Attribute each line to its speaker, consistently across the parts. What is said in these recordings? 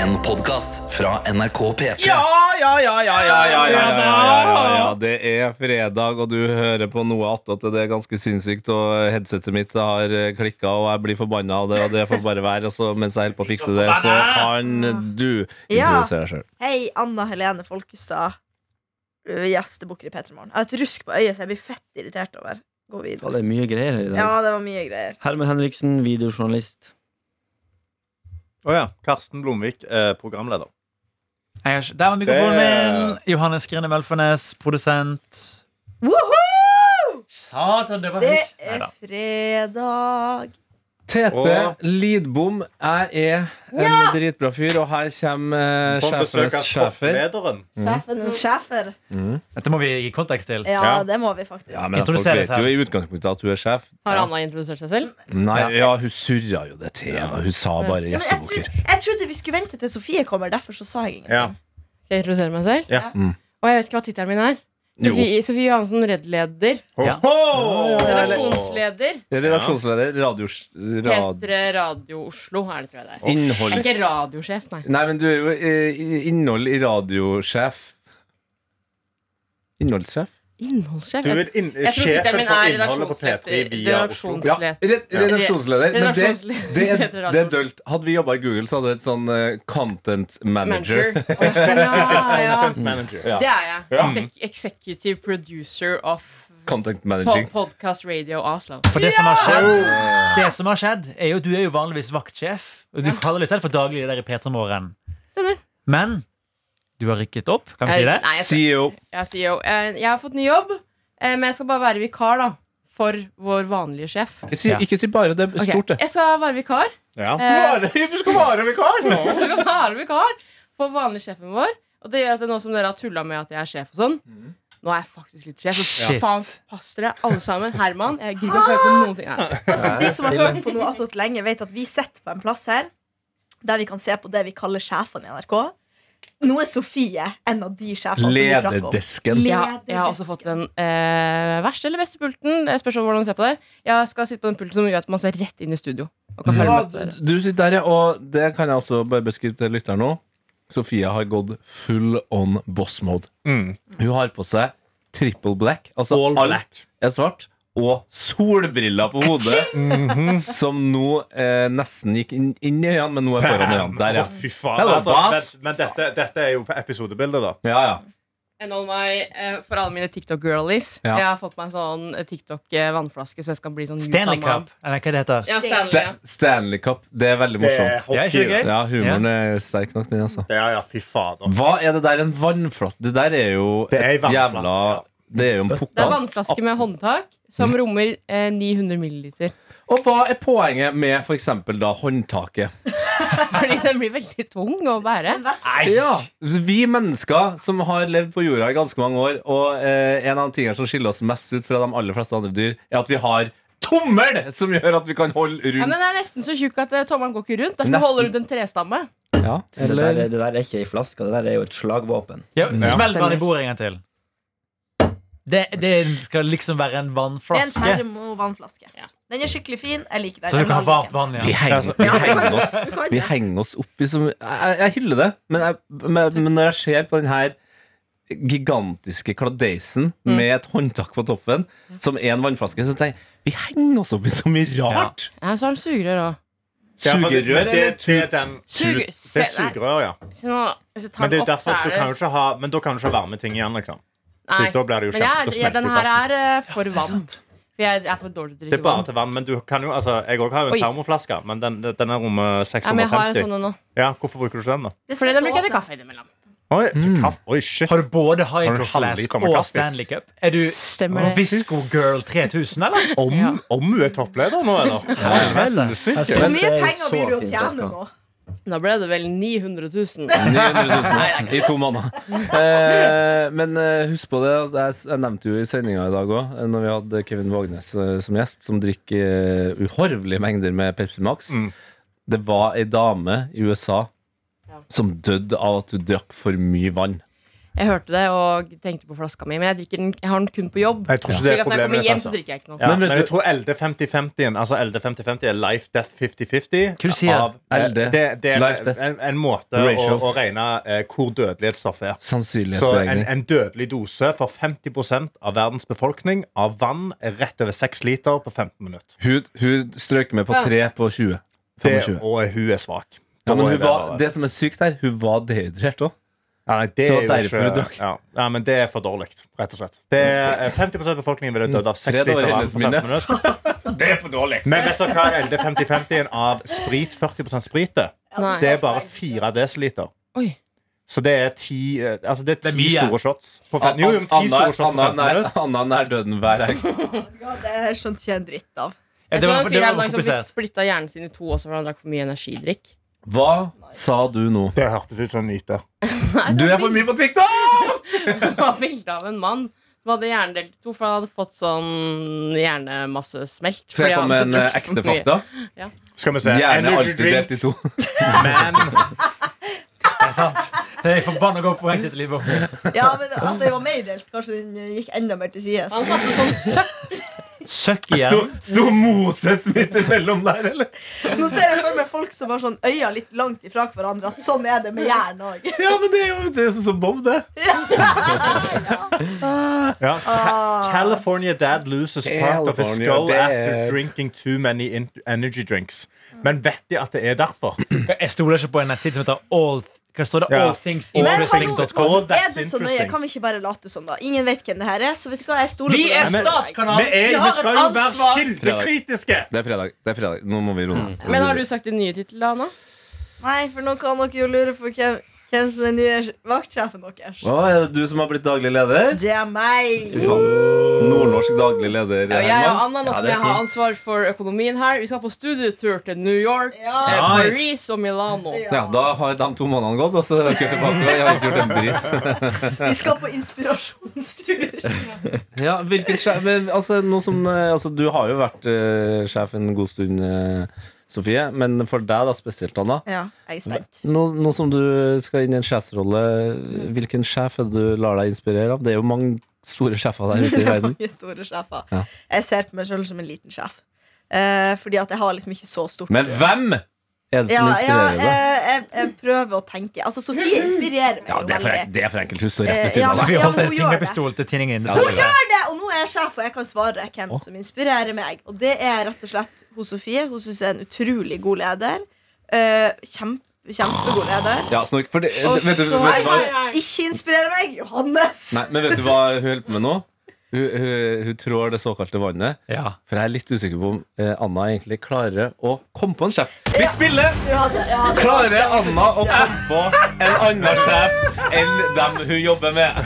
Speaker 1: En podcast fra NRK P3
Speaker 2: Ja, ja, ja, ja, ja, ja, ja, ja, ja, ja, ja. Det er fredag, og du hører på noe attåt. Det er ganske sinnssykt, og headsetet mitt har klikka, og jeg blir forbanna av det, og det får bare være. Og så, mens jeg holder på å fikse det, så kan du
Speaker 3: Ja.
Speaker 2: introdusere deg sjøl.
Speaker 3: Hei, Anna Helene Folkestad. øh, Gjestebukker i P3 Morgen. Jeg har et rusk på øyet, så jeg blir fett irritert over. Gå
Speaker 4: Ja,
Speaker 3: videre.
Speaker 4: Det er mye greier her i dag.
Speaker 3: Ja, det var mye greier.
Speaker 4: Herman Henriksen, videojournalist.
Speaker 5: Å ja. Karsten Blomvik, eh, programleder.
Speaker 6: Jeg har ikke- Der var mikrofonen min.
Speaker 5: Det-
Speaker 6: Johannes Grine Mølfernes, produsent.
Speaker 3: Woohoo!
Speaker 6: Satan, det var
Speaker 3: Det
Speaker 6: høyt.
Speaker 3: er
Speaker 6: Neida.
Speaker 3: fredag.
Speaker 2: Tete
Speaker 5: Og-
Speaker 2: Lidbom, jeg er en dritbra fyr, og her kommer eh,
Speaker 5: På besøk av
Speaker 2: sjefenes sjefer.
Speaker 5: topplederen.
Speaker 3: Sjefens sjefer.
Speaker 6: Dette må vi gi kontekst til.
Speaker 3: Ja,
Speaker 5: Ja.
Speaker 3: det må vi faktisk.
Speaker 2: Ja, men altså, Folk
Speaker 6: Introduserer
Speaker 2: vet
Speaker 6: seg.
Speaker 2: jo i utgangspunktet at hun er sjef.
Speaker 7: Har Anna introdusert seg selv?
Speaker 2: Nei, ja, hun surra jo det til. da. Hun sa bare
Speaker 3: Ja, men jeg, trodde,
Speaker 2: gjestebukker.
Speaker 3: jeg trodde vi skulle vente til Sofie kommer, derfor så sa jeg
Speaker 5: Ja.
Speaker 3: ingenting.
Speaker 7: Skal jeg introdusere meg selv?
Speaker 5: Ja.
Speaker 2: Mm.
Speaker 7: Og jeg vet ikke hva tittelen min er.
Speaker 2: Jo.
Speaker 7: Sofie, Sofie Johansen, Redd-leder.
Speaker 5: Ho, ho!
Speaker 7: Redaksjonsleder.
Speaker 2: Redaksjonsleder, radios... Rad...
Speaker 7: P3 Radio Oslo er det, tror jeg det er.
Speaker 2: Innholds...
Speaker 7: Jeg er ikke radiosjef, nei.
Speaker 2: Nei, men du er jo eh, innhold i radiosjef. Innholdssjef?
Speaker 7: Innholdssjef.
Speaker 5: Du
Speaker 7: Jeg-
Speaker 5: er inn,
Speaker 7: jeg tror tittelen
Speaker 5: sjefen
Speaker 7: min
Speaker 5: for
Speaker 7: er
Speaker 5: innholdet på P3
Speaker 7: redaksjonsleder.
Speaker 5: via Oslo.
Speaker 2: Ja,
Speaker 7: Redaksjonsleder.
Speaker 2: re redaksjonsleder. Men det, det, er,
Speaker 7: Redaksjonsleder.
Speaker 2: det er dølt. Hadde vi jobba i Google, så hadde det hett sånn eh, content manager.
Speaker 7: Manager. Å, sånn, ja, ja.
Speaker 5: Content manager.
Speaker 2: Ja.
Speaker 7: Det er jeg.
Speaker 5: Ja.
Speaker 7: Exec- Executive producer of
Speaker 2: Content
Speaker 7: po-
Speaker 2: managing.
Speaker 7: Podcast Radio Oslo.
Speaker 6: For det som har skjedd, det som har skjedd er jo, du er jo vanligvis vaktsjef. Og du
Speaker 7: Ja.
Speaker 6: kaller deg selv for daglig leder i P3 Morgen.
Speaker 7: Stemmer. Eh,
Speaker 6: Men du har rykket opp, kan vi si det?
Speaker 7: Nei, jeg
Speaker 2: CEO.
Speaker 7: Jeg sier jo eh, Jeg har fått ny jobb, eh, men jeg skal bare være vikar, da. For vår vanlige sjef.
Speaker 2: Ikke si,
Speaker 6: Ja.
Speaker 2: ikke si bare det.
Speaker 7: Ok,
Speaker 2: Stort, det.
Speaker 7: Jeg skal være vikar.
Speaker 5: Ja.
Speaker 7: Eh,
Speaker 2: Du skal være vikar!
Speaker 7: jeg skal være vikar for vanlig sjefen vår. Og det gjør at det nå som dere har tulla med at jeg er sjef og sånn,
Speaker 2: Mm.
Speaker 7: nå er jeg faktisk litt sjef. Så
Speaker 6: Shit.
Speaker 7: faen, pass dere, alle sammen. Herman. Jeg gidder ikke å høre på noen ting. Nei.
Speaker 3: Altså, de som har hørt på noe attåt lenge, vet at vi sitter på en plass her der vi kan se på det vi kaller sjefene i NRK. Nå er Sofie en av de
Speaker 7: Altså,
Speaker 3: sjefene som vi drakk om.
Speaker 2: Lederdesken.
Speaker 7: Jeg, har- jeg har også fått den eh, verste eller beste pulten. Det spørs om hvordan du ser på det. Jeg skal sitte på den pulten som gjør at man ser rett inn i studio. Og kan følge
Speaker 2: Ja,
Speaker 7: med på dere.
Speaker 2: du sitter der, ja, og det kan jeg også bare beskrive til lytteren nå. Sofie har gått full on boss mode.
Speaker 5: Mm.
Speaker 2: Hun har på seg triple black, altså
Speaker 5: All black.
Speaker 2: er svart, og solbriller på hodet,
Speaker 5: Mhm.
Speaker 2: som nå eh, nesten gikk inn, inn i øynene, men nå er foran øynene. Der, ja.
Speaker 5: Å, fy faen.
Speaker 2: Hello,
Speaker 5: Altså, men
Speaker 2: boss.
Speaker 5: men dette, dette er jo på episodebildet, da.
Speaker 2: Ja, ja.
Speaker 7: And on my, eh, for alle mine TikTok-girlies.
Speaker 2: Ja.
Speaker 7: Jeg har fått meg en sånn TikTok-vannflaske, så jeg skal bli sånn
Speaker 6: Stanley
Speaker 7: Utah Mom.
Speaker 6: Cup, eller hva det heter.
Speaker 7: Ja, Stanley, ja.
Speaker 2: Sta Stanley Cup. Det er veldig morsomt.
Speaker 6: Ja, ikke det gøy?
Speaker 2: Ja, humoren er sterk nok, den, altså.
Speaker 5: Ja, ja, fy fader.
Speaker 2: Hva er det der? En vannflaske? Det der er jo
Speaker 5: Det er
Speaker 2: et
Speaker 5: en vannflaske,
Speaker 2: jævla Det er jo en
Speaker 7: Det er
Speaker 2: pukkan.
Speaker 7: vannflaske med håndtak som
Speaker 5: Mm.
Speaker 7: rommer eh, 900 milliliter.
Speaker 2: Og hva er poenget med for eksempel da håndtaket?
Speaker 7: Fordi den blir veldig tung å bære.
Speaker 3: En vest.
Speaker 2: Ja, Vi mennesker som har levd på jorda i ganske mange år, og eh, en av de tingene som skiller oss mest ut fra de aller fleste andre dyr, er at vi har tommel som gjør at vi kan holde
Speaker 7: Ja, men
Speaker 2: rundt.
Speaker 7: den er nesten så tjukk at eh, tommelen går ikke rundt. Derfor
Speaker 2: Nesten.
Speaker 7: holder rundt en trestamme.
Speaker 2: Ja,
Speaker 4: Det der,
Speaker 2: eller
Speaker 4: er- det der er ikke ei flaske, det der er jo et slagvåpen.
Speaker 6: Ja, Smell den
Speaker 7: Stemmer.
Speaker 6: i bordet en gang til. Det, det skal liksom være en
Speaker 3: En
Speaker 6: vannflaske.
Speaker 3: termovannflaske.
Speaker 7: Ja.
Speaker 3: Den er skikkelig fin. Jeg liker den.
Speaker 6: Så du kan ha varmt vann
Speaker 2: vi
Speaker 6: igjen.
Speaker 2: henger, vi henger oss
Speaker 3: Du kan-
Speaker 2: Vi henger oss opp i som Jeg, jeg hyller det, men, jeg, men, men når jeg ser på den her gigantiske kladeisen med et håndtak på toppen, som er en vannflaske, så tenker jeg vi henger oss opp i så mye rart.
Speaker 7: Ja, så har den sugerør òg.
Speaker 2: Sugerør
Speaker 5: det,
Speaker 2: eller
Speaker 5: det, er
Speaker 2: tut?
Speaker 5: den-
Speaker 7: Suger-
Speaker 5: det er sugerør, ja. Men det er jo derfor at du kan jo ikke ha, men da kan du ikke ha varme ting igjen, liksom.
Speaker 7: Nei.
Speaker 5: Da blir det jo
Speaker 7: Men jeg,
Speaker 5: kjempe, da smelter
Speaker 7: ja, den
Speaker 5: jo
Speaker 7: her
Speaker 5: plasten.
Speaker 7: er eh, for vann. For jeg er for dårlig til
Speaker 5: Det
Speaker 7: å drikke
Speaker 5: er bare
Speaker 7: vann.
Speaker 5: til vann, men du kan jo altså, Jeg òg har jo
Speaker 7: Og
Speaker 5: en
Speaker 7: is.
Speaker 5: termoflaske, men den, den- den er rommet
Speaker 7: Ja, men jeg har en
Speaker 5: 650.
Speaker 7: sånn en nå.
Speaker 5: Ja, hvorfor bruker du ikke den, da?
Speaker 3: Det skal
Speaker 7: Fordi den bruker jeg
Speaker 3: åpne.
Speaker 7: til kaffe innimellom.
Speaker 5: Oi, kaffe. Oi shit.
Speaker 6: Har du både
Speaker 5: Har du
Speaker 6: Hydro
Speaker 5: en
Speaker 6: Flask
Speaker 5: halvliter med
Speaker 6: og
Speaker 5: kaffe?
Speaker 6: Stanley Cup? Er du
Speaker 7: Stemmer det.
Speaker 6: Visco Girl 3000, eller?
Speaker 5: om,
Speaker 7: Ja.
Speaker 5: om hun er toppleder nå, eller?
Speaker 4: Jeg
Speaker 3: Hvor
Speaker 4: synes det
Speaker 3: mye
Speaker 4: er
Speaker 3: penger
Speaker 4: så
Speaker 3: vil du
Speaker 4: fin
Speaker 3: tjene
Speaker 4: flaske.
Speaker 3: nå?
Speaker 7: Da ble det vel 900
Speaker 2: 900
Speaker 7: 000.
Speaker 2: 000 i to måneder. Eh, men eh, husk på det, at jeg, s- jeg nevnte jo i sendinga i dag òg, når vi hadde Kevin Vågnes eh, som gjest, som drikker eh, uhorvelige mengder med Pepsi Max.
Speaker 5: Mm.
Speaker 2: Det var ei dame i USA
Speaker 7: Ja.
Speaker 2: som døde av at hun drakk for mye vann.
Speaker 7: Jeg hørte det og tenkte på flaska mi, men jeg, drikker den, jeg har den kun på jobb.
Speaker 5: Jeg tror ikke det
Speaker 7: Slik
Speaker 5: er
Speaker 7: at når
Speaker 5: problemet
Speaker 7: jeg kommer
Speaker 5: mitt.
Speaker 7: hjem, så
Speaker 5: Altså.
Speaker 7: drikker jeg ikke noe.
Speaker 5: Ja,
Speaker 2: Men
Speaker 5: men,
Speaker 2: vet du-
Speaker 5: jeg tror LD 50-50-en Altså LD 50-50 er life death 50-50.
Speaker 6: Hva du sier?
Speaker 5: av- eh,
Speaker 2: LD,
Speaker 5: Det, det er
Speaker 2: life, death.
Speaker 5: en, en måte å,
Speaker 2: Ratio.
Speaker 5: å regne eh, hvor dødelig et stoff er. Så en,
Speaker 2: Sannsynlighetsberegning.
Speaker 5: en dødelig dose for 50 av verdens befolkning av vann er rett over 6 liter på 15 minutter.
Speaker 2: Hun, hun strøk med på
Speaker 7: Ja.
Speaker 2: 3 på 20.
Speaker 5: Det,
Speaker 2: 25.
Speaker 5: og hun er svak.
Speaker 2: Ja,
Speaker 5: Da
Speaker 2: men
Speaker 5: er
Speaker 2: hun
Speaker 5: det
Speaker 2: var,
Speaker 5: bare-
Speaker 2: det som er sykt her, hun var dehydrert òg.
Speaker 5: Ja, nei, det,
Speaker 2: var
Speaker 5: er jo
Speaker 2: derfor
Speaker 5: ikke-
Speaker 2: hun drakk.
Speaker 5: Ja. ja, men det er for dårlig, rett og slett. Det er, eh, 50 av befolkningen ville dødd av 6
Speaker 2: Fred
Speaker 5: liter
Speaker 2: over
Speaker 5: vann
Speaker 2: hennes
Speaker 5: på 15
Speaker 2: minne.
Speaker 5: minutter. Det er for dårlig. Men vet dere hva LD 50-50-en av sprit, 40 sprit, er?
Speaker 7: Nei.
Speaker 5: Det er bare 4 desiliter.
Speaker 7: Oi.
Speaker 5: Så det er ti, eh, altså det er
Speaker 6: er
Speaker 5: ti
Speaker 6: mye.
Speaker 5: store shots. På fem, jo, jo, men ti store shots på 15 minutter.
Speaker 2: Anna nær døden hver helg.
Speaker 3: Ja, det skjønte ikke jeg en dritt av.
Speaker 6: Ja,
Speaker 7: Jeg
Speaker 6: det
Speaker 7: så
Speaker 6: var,
Speaker 7: en
Speaker 6: det
Speaker 7: fyr
Speaker 6: var
Speaker 7: her en dag som fikk
Speaker 6: komplisert.
Speaker 7: splitta hjernen sin i to også fordi han drakk for mye energidrikk.
Speaker 2: Hva sa du nå?
Speaker 5: Det hørtes ut som en myte.
Speaker 2: Du er for mye på TikTok!
Speaker 7: Det var bilde av en mann som hadde hjernedelt i to, for han hadde fått sånn hjernemassesmelt.
Speaker 2: Så jeg
Speaker 7: fordi han
Speaker 2: kom med en
Speaker 7: hadde
Speaker 2: eh,
Speaker 7: drukket for
Speaker 2: ekte
Speaker 7: mye.
Speaker 2: fakta.
Speaker 5: Skal vi se.
Speaker 2: Gjerne
Speaker 5: Energy
Speaker 2: alltid
Speaker 5: drink,
Speaker 2: delt i to.
Speaker 5: men
Speaker 6: Det er sant. Det er forbanna godt poeng til Liv.
Speaker 3: Ja, men At det var mer delt, kanskje den eh, gikk enda mer til sides.
Speaker 7: Han hadde sånn søkk.
Speaker 6: Søkk igjen.
Speaker 2: sto Moses midt imellom der, eller?
Speaker 3: Nå ser jeg for meg folk som har sånn øya litt langt ifra hverandre. At sånn er det med jern òg.
Speaker 2: Ja, men det er jo det er sånn som Bob, det.
Speaker 5: ja. Ca- Ah. California dad loses part of his
Speaker 2: California
Speaker 5: skull
Speaker 2: dad.
Speaker 5: after drinking too many in energy drinks. Men vet de at det er derfor?
Speaker 6: Jeg stoler ikke på en nettside som heter All, hva står det?
Speaker 5: Ja.
Speaker 6: All Things
Speaker 5: All
Speaker 6: Interesting.
Speaker 5: Things All
Speaker 3: Er
Speaker 5: that's
Speaker 3: det så nøye?
Speaker 5: interesting.
Speaker 3: Kan vi ikke bare late som, da? Ingen vet hvem det her er. Så vet du hva, jeg stoler
Speaker 6: Vi
Speaker 3: på
Speaker 6: er
Speaker 3: deg.
Speaker 5: men-
Speaker 6: statskanal!
Speaker 5: Vi, er, vi skal jo være kildekritiske!
Speaker 2: Det er fredag. det er fredag Nå må vi roe ned.
Speaker 7: Mm. Men har du sagt din nye tittel, Anna?
Speaker 3: Nei, for nå kan dere jo lure på hvem, hvem som er den nye vaktsjefen deres.
Speaker 2: Å, er det du som har blitt daglig leder?
Speaker 3: Det er meg.
Speaker 2: Fy faen. Nordnorsk daglig leder,
Speaker 7: Ja, jeg og
Speaker 2: Herman.
Speaker 7: Anna nå
Speaker 4: Ja,
Speaker 7: som
Speaker 4: det er
Speaker 7: jeg har
Speaker 4: fint.
Speaker 7: ansvar for økonomien her. Vi skal på studietur til New York,
Speaker 3: Ja.
Speaker 7: eh,
Speaker 6: Nice.
Speaker 7: Paris og Milano.
Speaker 3: Ja.
Speaker 2: Ja, da har de to månedene gått, og så er dere tilbake. Og jeg har ikke gjort en dritt.
Speaker 3: Vi skal på inspirasjonstur.
Speaker 2: Ja, hvilken sjef, men, altså, noe som, eh, altså, du har jo vært eh, sjef en god stund, eh, Sofie. Men for deg da spesielt, Anna.
Speaker 3: Ja, jeg er spent.
Speaker 2: Nå, nå som du skal inn i en sjefsrolle, hvilken sjef er det du lar deg inspirere av? Det er jo mange store sjefer der ute i verden.
Speaker 3: Mange store sjefer.
Speaker 2: Ja.
Speaker 3: Jeg ser på meg sjøl som en liten sjef. Eh, fordi at jeg har liksom ikke så stort
Speaker 2: Men hvem er det
Speaker 3: ja,
Speaker 2: som
Speaker 3: eh, ja,
Speaker 2: inspirerer deg?
Speaker 3: jeg, jeg, jeg prøver å tenke. Altså, Sofie inspirerer meg
Speaker 2: Ja,
Speaker 3: jo
Speaker 2: det er for,
Speaker 3: veldig.
Speaker 2: det er for enkelt. Hun står
Speaker 3: Eh,
Speaker 2: rett ved siden
Speaker 3: ja.
Speaker 2: av deg.
Speaker 6: Vi
Speaker 3: men
Speaker 6: holdt en
Speaker 3: hun gjør det.
Speaker 6: fingerpistol til tinningen.
Speaker 2: Ja, det er det.
Speaker 3: det, og nå er jeg sjef, og jeg kan svare hvem som inspirerer meg. Og det er rett og slett hun Sofie. Hun syns jeg er en utrolig god leder. Eh, kjempe, kjempegod leder.
Speaker 2: Ja, snork, for det,
Speaker 3: Og
Speaker 2: vet, du, vet, du,
Speaker 3: så-
Speaker 2: hva,
Speaker 3: Ikke inspirerer meg, Johannes!
Speaker 2: nei, men vet du hva hun holder på med nå? Hun, hun, hun trår det såkalte vannet.
Speaker 6: Ja.
Speaker 2: For jeg er litt usikker på om eh, Anna egentlig klarer å komme på en sjef. Vi spiller!
Speaker 3: Ja, det- ja, det-
Speaker 2: Klarer Anna å komme på en annen sjef enn dem hun jobber med?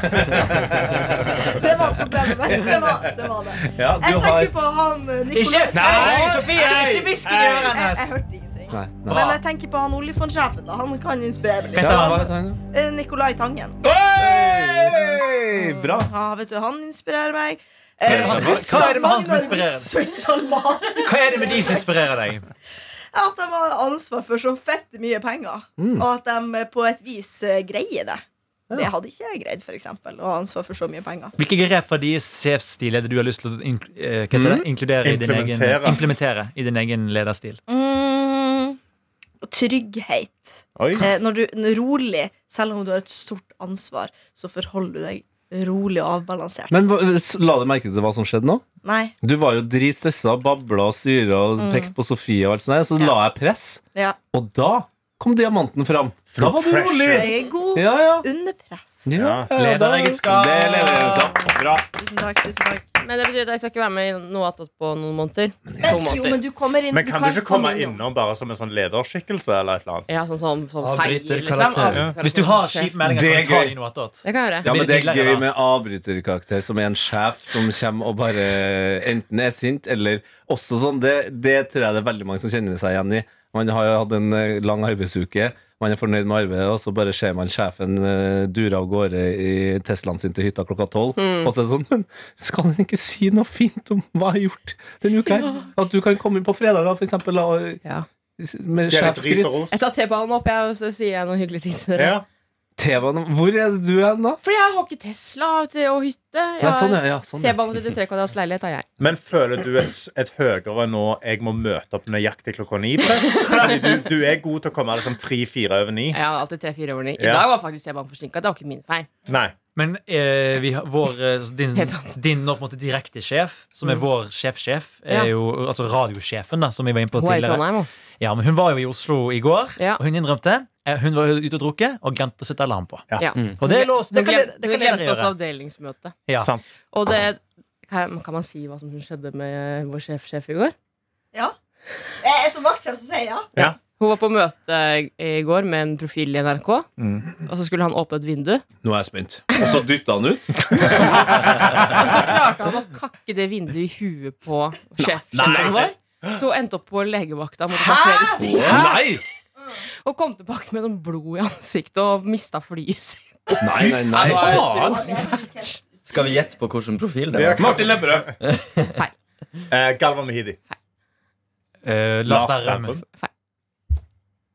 Speaker 3: det var problemet mitt. Det var det. Var det.
Speaker 2: Ja,
Speaker 3: Jeg
Speaker 2: du
Speaker 3: tenker
Speaker 2: har
Speaker 3: på han eh,
Speaker 6: Ikke
Speaker 3: Nicolai
Speaker 6: Nei, Sofie! Ikke hvisk i øret
Speaker 3: jeg, jeg
Speaker 6: hennes!
Speaker 3: hørte ingenting.
Speaker 2: Nei, nei.
Speaker 3: Men jeg tenker på han oljefondsjefen. da. Han kan inspirere meg
Speaker 6: Vet
Speaker 2: Ja,
Speaker 3: litt.
Speaker 6: du hva?
Speaker 2: hva heter han?
Speaker 3: Eh, Nicolai Tangen. Mm.
Speaker 2: Hey! Bra.
Speaker 3: Ja, vet du, han inspirerer meg. Eh,
Speaker 2: Hva er det
Speaker 6: med han som
Speaker 3: Magnar
Speaker 6: inspirerer?
Speaker 3: Witzøe Salman.
Speaker 6: Hva er det med de som inspirerer deg?
Speaker 3: At de har ansvar for så fett mye penger,
Speaker 2: Mm.
Speaker 3: og at de på et vis eh, greier det. Det hadde ikke jeg greid, for eksempel, å ha ansvar for så mye penger.
Speaker 6: Hvilke grep fra deres sjefsstil er det du har lyst til å ink eh, hva heter det? inkludere i din egen,
Speaker 5: Implementere.
Speaker 6: implementere i din egen lederstil?
Speaker 3: Mm, trygghet.
Speaker 5: Oi.
Speaker 3: Eh, når du når rolig, selv om du har et stort ansvar, så forholder du deg rolig og avbalansert.
Speaker 2: Men hva- s- la du merke til hva som skjedde nå?
Speaker 3: Nei.
Speaker 2: Du var jo dritstressa, babla og styra og pekte på Sofie og alt sånt, der, så la jeg press,
Speaker 3: Ja.
Speaker 2: og da kom diamanten fram. Da var du
Speaker 5: pressure.
Speaker 2: rolig!
Speaker 3: Jeg er god
Speaker 2: Ja, ja.
Speaker 3: under press.
Speaker 5: Ja.
Speaker 6: Lederegenskap.
Speaker 2: Det er lederegenskap. Bra.
Speaker 3: Tusen takk. tusen takk
Speaker 7: Men det betyr at jeg skal ikke være med i noe attåt på noen måneder. To
Speaker 3: Jo,
Speaker 7: måneder.
Speaker 3: men du kommer inn
Speaker 5: Men kan du ikke komme
Speaker 3: innom.
Speaker 5: innom bare som en sånn lederskikkelse eller et eller annet?
Speaker 7: Ja, sånn som sånn, feil,
Speaker 6: Avbryter
Speaker 7: liksom.
Speaker 6: karakter.
Speaker 7: Avbryter
Speaker 6: Hvis du har kjipe meldinger,
Speaker 2: Det er
Speaker 6: kan du ta
Speaker 2: gøy.
Speaker 6: de noe attåt.
Speaker 7: Det kan jeg gjøre.
Speaker 2: Ja, men det er
Speaker 6: Blir det
Speaker 2: gøy
Speaker 6: hyggeligere,
Speaker 2: med avbryterkarakter, som er en sjef som kommer og bare enten er sint, eller også sånn. Det, det tror jeg det er veldig mange som kjenner seg igjen i. Man har jo hatt en eh, lang arbeidsuke, man er fornøyd med arbeidet, og så bare ser man sjefen eh, dure av gårde i Teslaen sin til hytta klokka tolv. Og så er det sånn Men skal han ikke si noe fint om hva jeg har gjort denne uka her? At du kan komme inn på fredager, for eksempel, da, og-
Speaker 7: Ja.
Speaker 5: Det
Speaker 2: med
Speaker 5: er litt ris
Speaker 2: sjefskritt.
Speaker 5: og ros.
Speaker 7: Jeg tar T-banen opp, jeg, og så sier jeg noen hyggelige ting til dere.
Speaker 5: Ja.
Speaker 2: T-banen Hvor er du hen, da?
Speaker 7: Fordi jeg har ikke Tesla til- og hytte. Jeg
Speaker 2: Nei, sånn,
Speaker 7: har
Speaker 2: ja, ja, sånn, ja.
Speaker 7: T-bane til tre kvadrats leilighet har jeg.
Speaker 5: Men føler du et, et høyere nå jeg må møte opp nøyaktig klokka ni? press? Fordi Du, du er god til å komme liksom tre-fire over ni.
Speaker 7: Jeg har alltid tre-fire år i. I
Speaker 5: Ja.
Speaker 7: dag var faktisk T-banen forsinka. Det var ikke min feil.
Speaker 5: Nei.
Speaker 6: Men eh, vi har, vår, eh, din,
Speaker 7: Helt sant.
Speaker 6: din nå på en måte direkte sjef, som er
Speaker 7: Mm.
Speaker 6: vår sjefsjef,
Speaker 7: Ja.
Speaker 6: er jo altså radiosjefen, da, som vi var inne på
Speaker 7: Hun er i
Speaker 6: tidligere.
Speaker 7: Trondheim. hun.
Speaker 6: Ja, men hun var jo i Oslo i går,
Speaker 7: Ja.
Speaker 6: og hun innrømte. eh, Hun var ute og drukket og glemte å sette alarm på.
Speaker 5: Ja.
Speaker 7: Ja.
Speaker 6: Mm. Og det, er lov-
Speaker 7: Hun
Speaker 6: det kan,
Speaker 7: glemte,
Speaker 6: det
Speaker 7: hun
Speaker 6: kan dere
Speaker 7: glemte også
Speaker 6: gjøre.
Speaker 7: avdelingsmøtet.
Speaker 6: Ja.
Speaker 5: Sant.
Speaker 7: Og det kan, kan man si hva som skjedde med vår sjefsjef i går?
Speaker 3: Ja. Jeg er som vaktsjef som sier ja.
Speaker 7: Hun var på møte i går med en profil i NRK,
Speaker 6: Mm.
Speaker 7: og så skulle han åpne et vindu.
Speaker 2: Nå er jeg spent. Og så dytta han ut?
Speaker 7: Og så klarte han å kakke det vinduet i huet på sjefsjefen vår. Så hun endte opp på legevakta måtte ta flere stikk,
Speaker 2: Nei!
Speaker 7: og kom tilbake med sånn blod i ansiktet og mista flyet sitt.
Speaker 2: Nei, nei, nei.
Speaker 7: Det var utrolig.
Speaker 3: Det er faktisk helt-
Speaker 4: Skal vi gjette på hvilken profil det var?
Speaker 2: Martin Lepperød.
Speaker 5: Eh, Galvan Mehidi.
Speaker 6: Eh, Lars Berrum.
Speaker 5: Berrum.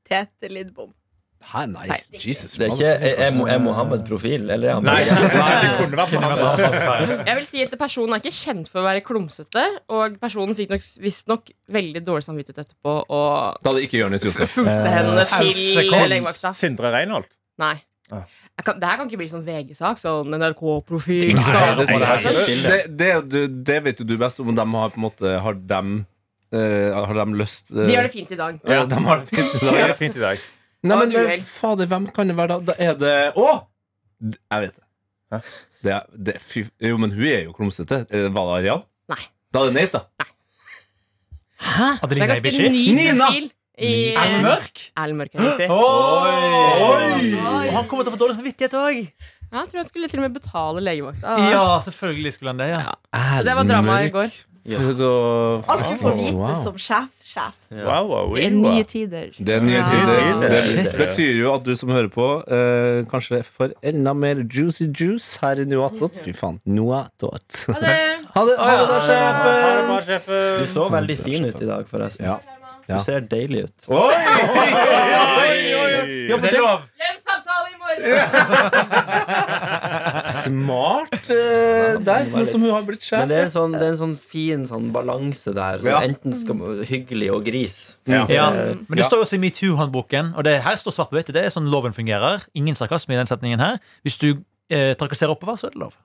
Speaker 3: Tete Lidbom.
Speaker 2: Hæ, nei. Jesus.
Speaker 4: Det er ikke er, er, Mo- er Mohammed profil, eller er han
Speaker 5: Nei,
Speaker 4: bare
Speaker 5: nei, det kunne vært
Speaker 6: Kunne
Speaker 5: meg.
Speaker 6: vært Lars Berrum.
Speaker 7: Jeg vil si at Personen er ikke kjent for å være klumsete, og personen fikk nok- visstnok veldig dårlig samvittighet etterpå og
Speaker 2: Da hadde ikke Jonis Josef.
Speaker 7: fulgte
Speaker 2: eh,
Speaker 7: henne til
Speaker 6: Sekund.
Speaker 7: legevakta.
Speaker 5: Eh, Sindre Reinholt.
Speaker 7: Nei.
Speaker 5: Ah.
Speaker 7: Jeg kan, det her kan ikke bli sånn VG-sak. Sånn NRK-profil.
Speaker 6: Nei,
Speaker 7: skal
Speaker 2: det,
Speaker 7: opp og der.
Speaker 2: det, det, det- det vet jo du best om de har på en måte Har dem eh, Har dem lyst eh,
Speaker 7: De gjør det fint i dag.
Speaker 2: Ja, de har det fint i
Speaker 5: Det
Speaker 2: dag.
Speaker 5: er fint i dag.
Speaker 2: Nei, men
Speaker 7: Og et
Speaker 2: det-
Speaker 7: uhell.
Speaker 2: fader, hvem kan det være da? Da er det Å! D- Jeg vet det.
Speaker 5: Hæ?
Speaker 2: det, er, det er, fy, jo, men hun er jo klumsete. Eh, Var det Arian?
Speaker 7: Nei.
Speaker 2: Da er det Nate, da.
Speaker 7: Det er
Speaker 6: Adelina
Speaker 7: ganske
Speaker 6: Ibishi.
Speaker 7: ny
Speaker 2: Nina!
Speaker 7: profil. I,
Speaker 6: Er hun mørk?
Speaker 7: Erlend Mørk er riktig.
Speaker 6: Oi!
Speaker 3: Oi.
Speaker 6: Og han kommer til å få dårlig samvittighet òg.
Speaker 7: Ja, jeg tror han skulle til og med betale legevakta.
Speaker 6: Ja, selvfølgelig skulle han det. ja.
Speaker 7: Så Det var drama i går.
Speaker 2: Fød og-
Speaker 3: Alt du får
Speaker 2: Å,
Speaker 3: vite
Speaker 2: wow.
Speaker 3: som sjef, sjef.
Speaker 5: Wow, wow,
Speaker 7: Det er
Speaker 5: wow.
Speaker 7: nye tider.
Speaker 2: Det er nye
Speaker 3: Ja.
Speaker 2: tider.
Speaker 5: Det er nye
Speaker 2: Det
Speaker 5: tider.
Speaker 2: betyr jo at du som hører på, eh, kanskje får enda mer juicy juice her i Noe attåt. Fy faen. Noe attåt. Ha
Speaker 7: Ja, det,
Speaker 2: det, ha det,
Speaker 5: Ha det
Speaker 2: sjefen!
Speaker 5: bra, sjefen.
Speaker 4: Du så veldig fin ut i dag, forresten.
Speaker 2: Ja.
Speaker 4: Du ser deilig ut.
Speaker 6: Det er lov.
Speaker 7: Lønnssamtale i morgen!
Speaker 2: Smart eh, der, nå som hun har blitt sjef.
Speaker 4: Men det er, sånn, det er en sånn fin sånn balanse der. Sånn,
Speaker 2: Ja.
Speaker 4: Enten skal man- hyggelig og gris.
Speaker 6: Ja.
Speaker 4: Eh,
Speaker 6: Men det står jo også i metoo-håndboken, og det her står svart på hvitt. Det er sånn loven fungerer. Ingen sarkasme i den setningen her. Hvis du eh, trakasserer oppover, så er det lov.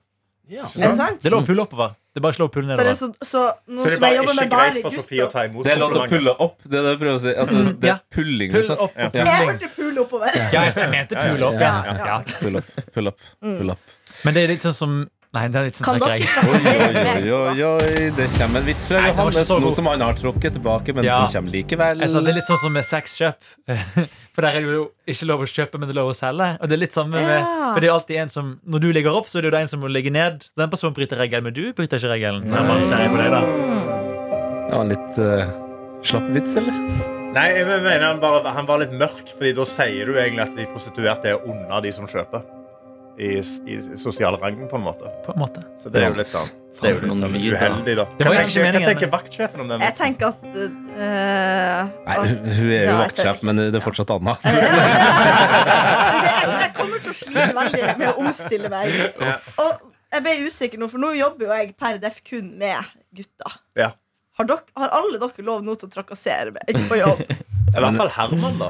Speaker 3: Er det sant?
Speaker 6: Det er lov å pulle oppover. Det er bare å slå pullen
Speaker 3: Så, det er
Speaker 6: nedover.
Speaker 3: så, så nå
Speaker 5: Så det er
Speaker 3: som jeg
Speaker 5: bare
Speaker 3: jobber
Speaker 5: ikke
Speaker 3: med
Speaker 5: greit
Speaker 3: bare
Speaker 5: for Sofie å
Speaker 3: gutter
Speaker 5: ta imot
Speaker 2: Det er lov til å
Speaker 5: komplimenter.
Speaker 2: pulle opp. Det er det jeg prøver å si. Altså, det
Speaker 6: Mm. Ja.
Speaker 2: er pulling.
Speaker 6: Pull
Speaker 2: liksom.
Speaker 6: opp for
Speaker 2: Ja.
Speaker 3: Jeg
Speaker 6: pulling.
Speaker 3: hørte pull oppover.
Speaker 6: Ja, jeg mente pull opp. Ja,
Speaker 2: Ja,
Speaker 6: ja.
Speaker 2: Pull up, pull up,
Speaker 3: Mm.
Speaker 2: pull up.
Speaker 6: Men det er litt sånn som Nei, det er litt
Speaker 3: Kan
Speaker 6: sånn
Speaker 3: dere
Speaker 6: jeg.
Speaker 3: plassere
Speaker 2: Oi,
Speaker 3: meg
Speaker 2: oi, oi, oi. Det kommer en vits fra
Speaker 6: Nei, det var ikke
Speaker 2: Johannes,
Speaker 6: så
Speaker 2: noe
Speaker 6: god.
Speaker 2: som han har trukket tilbake, men
Speaker 6: Ja.
Speaker 2: som kommer likevel.
Speaker 6: Jeg sa det er litt sånn som med sexkjøp. For der er det jo ikke lov å kjøpe, men det er lov å selge. Og det er litt samme med
Speaker 3: Ja.
Speaker 6: For det er alltid en som Når du ligger opp, så er det jo det en som må ligge ned. Den personen bryter regelen, men du bryter ikke regelen. Når man ser på deg, da.
Speaker 2: Ja, en litt eh, slapp vits, eller?
Speaker 5: Nei, jeg mener han, bare, han var litt mørk, Fordi da sier du egentlig at de prostituerte er unna de som kjøper. I, s- i sosial rangen, på en måte.
Speaker 6: På en måte.
Speaker 5: Så det er jo litt sånn, det er jo litt sånn uheldig, da.
Speaker 6: Det
Speaker 5: Hva
Speaker 6: var jo ikke
Speaker 5: tenker, hva
Speaker 6: meningen,
Speaker 5: tenker vaktsjefen om den
Speaker 3: Jeg
Speaker 5: vitsen?
Speaker 3: tenker at eh,
Speaker 2: Nei,
Speaker 3: at-
Speaker 2: hun hun er jo
Speaker 3: Ja, jeg tør
Speaker 2: vaktsjef,
Speaker 3: ikke.
Speaker 2: men det er fortsatt Anna.
Speaker 3: Men det- jeg, jeg kommer til å slite veldig med å omstille meg. Og jeg ble usikker nå, for nå jobber jo jeg per def kun med gutter.
Speaker 5: Ja.
Speaker 3: Har, dere, har alle dere lov nå til å trakassere meg på jobb?
Speaker 5: I hvert fall Herman, da.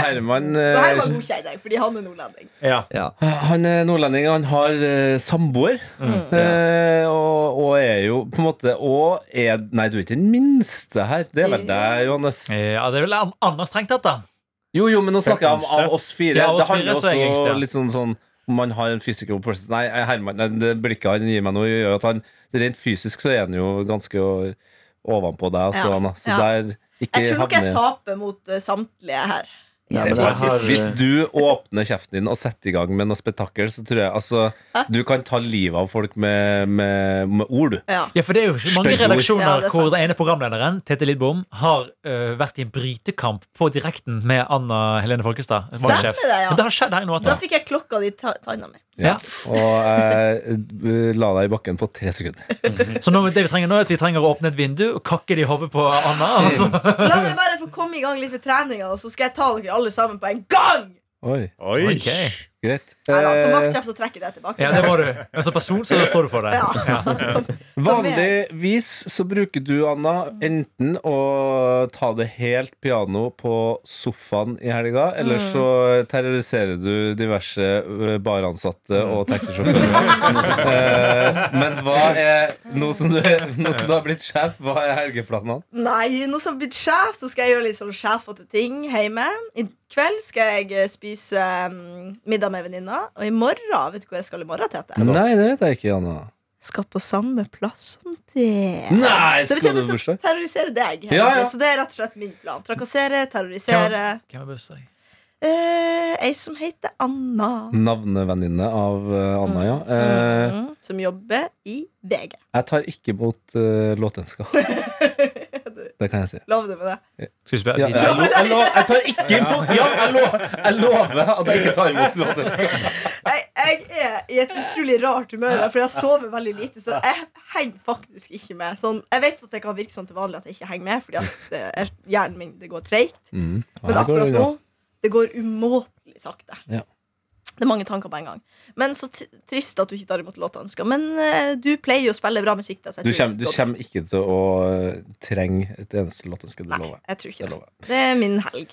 Speaker 2: Herman eh,
Speaker 3: Og her var godkjenner jeg, fordi han er nordlending.
Speaker 5: Ja.
Speaker 2: Han er nordlending, han har eh, samboer.
Speaker 6: Mm.
Speaker 2: Eh, og, og er jo på en måte Og er Nei, du er ikke den minste her. Det er vel deg, Johannes.
Speaker 6: Eh, Ja, det er vel an- annet strengt tatt, da.
Speaker 2: Jo, jo, men nå snakker jeg om av oss fire.
Speaker 6: Ja, oss
Speaker 2: det handler
Speaker 6: fire, så er
Speaker 2: også
Speaker 6: jeg yngst, ja.
Speaker 2: litt sånn sånn om man har en physical presence Nei, jeg- Herman, nei, det blikket han gir meg nå, gjør at han rent fysisk så er han jo ganske å- ovenpå deg. Altså,
Speaker 3: Ja,
Speaker 2: Anna. Så
Speaker 3: ja.
Speaker 2: der ikke
Speaker 3: Jeg tror nok jeg
Speaker 2: havner-
Speaker 3: taper mot eh, samtlige her.
Speaker 4: Nei, men jeg har, eh,
Speaker 2: Hvis, hvis du åpner kjeften din og setter i gang med noe spetakkel, så tror jeg altså Du kan ta livet av folk med, med, med ord, du.
Speaker 3: Ja.
Speaker 6: Ja, for det er jo ikke mange
Speaker 2: Stygge ord.
Speaker 6: redaksjoner
Speaker 3: Ja, det er sant.
Speaker 6: hvor den ene programlederen Tete Lidbom, har ø, vært i en brytekamp på direkten med Anna Helene Folkestad.
Speaker 3: Stemmer
Speaker 6: valgsjef.
Speaker 3: det, ja.
Speaker 6: Men det har skjedd her nå.
Speaker 3: Da
Speaker 6: Atta.
Speaker 3: fikk jeg klokka di i ta- tanna mi.
Speaker 6: Ja.
Speaker 2: Og jeg la deg i bakken på tre sekunder.
Speaker 6: Så nå, det vi trenger nå er at vi trenger å åpne et vindu og kakke det i hodet på Anna. altså. Og så
Speaker 3: La meg bare få komme i gang litt med treninga, og så skal jeg ta dere alle sammen på en gang!
Speaker 2: Oi.
Speaker 5: Oi.
Speaker 6: Ok.
Speaker 2: Greit.
Speaker 3: Nei altså, da, som
Speaker 2: Eh,
Speaker 3: vaktkraft så trekker jeg det tilbake.
Speaker 6: Ja, det må du. Men som person så står du for det.
Speaker 3: Ja.
Speaker 6: Ja.
Speaker 3: Som, som er-
Speaker 2: Vanligvis så bruker du, Anna, enten å ta det helt piano på sofaen i helga, eller
Speaker 3: Mm.
Speaker 2: så terroriserer du diverse ø, baransatte
Speaker 3: Mm.
Speaker 2: og taxisjåfører. Eh, Men hva er Nå som du, nå som du har blitt sjef, hva er helgeplanene?
Speaker 3: Nei, nå som jeg har blitt sjef, så skal jeg gjøre litt sånn sjefete ting hjemme. I kveld skal jeg eh, spise um, middag med venninna, og i morgen Vet du hvor jeg skal i morgen, Tete?
Speaker 2: Nei, det vet jeg ikke, Anna.
Speaker 3: Skal på samme plass som det.
Speaker 2: Nei,
Speaker 3: Så
Speaker 2: skal
Speaker 3: det betyr at
Speaker 2: du
Speaker 3: jeg skal
Speaker 2: bursdag?
Speaker 3: terrorisere deg. helt
Speaker 2: Ja, ja.
Speaker 3: enkelt. Så det er rett og slett min plan. Trakassere, terrorisere.
Speaker 6: Hvem er bursdag?
Speaker 3: Eh, ei som heter Anna.
Speaker 2: Navnevenninne av eh, Anna, ja. Eh,
Speaker 3: Mm, som jobber i VG.
Speaker 2: Jeg tar ikke imot eh, låtønsker. Det kan jeg si.
Speaker 3: Lov det med det.
Speaker 6: Skal
Speaker 2: Ja,
Speaker 6: vi spørre
Speaker 2: jeg,
Speaker 6: DJ?
Speaker 2: lo, jeg, lo, jeg tar ikke imot ja, jeg, lo, jeg lover at jeg ikke tar imot låtønsker.
Speaker 3: Jeg, jeg er i et utrolig rart humør, i dag, for jeg sover veldig lite. Så jeg henger faktisk ikke med. Sånn, jeg vet at det kan virke sånn til vanlig at jeg ikke henger med, fordi at det er, hjernen min det går treigt.
Speaker 2: Mm.
Speaker 3: Men akkurat nå det går umåtelig sakte.
Speaker 2: Ja.
Speaker 3: Det er mange tanker på en gang. Men så t trist at du ikke tar imot låta ønska. Men eh, du pleier jo å spille bra musikk. Da, så jeg
Speaker 2: Du
Speaker 3: tror-
Speaker 2: kommer, du kommer ikke til å eh, trenge et eneste låtønske, det
Speaker 3: Nei,
Speaker 2: lover jeg.
Speaker 3: jeg tror ikke
Speaker 2: Det
Speaker 3: det.
Speaker 2: lover jeg.
Speaker 3: Det er min helg.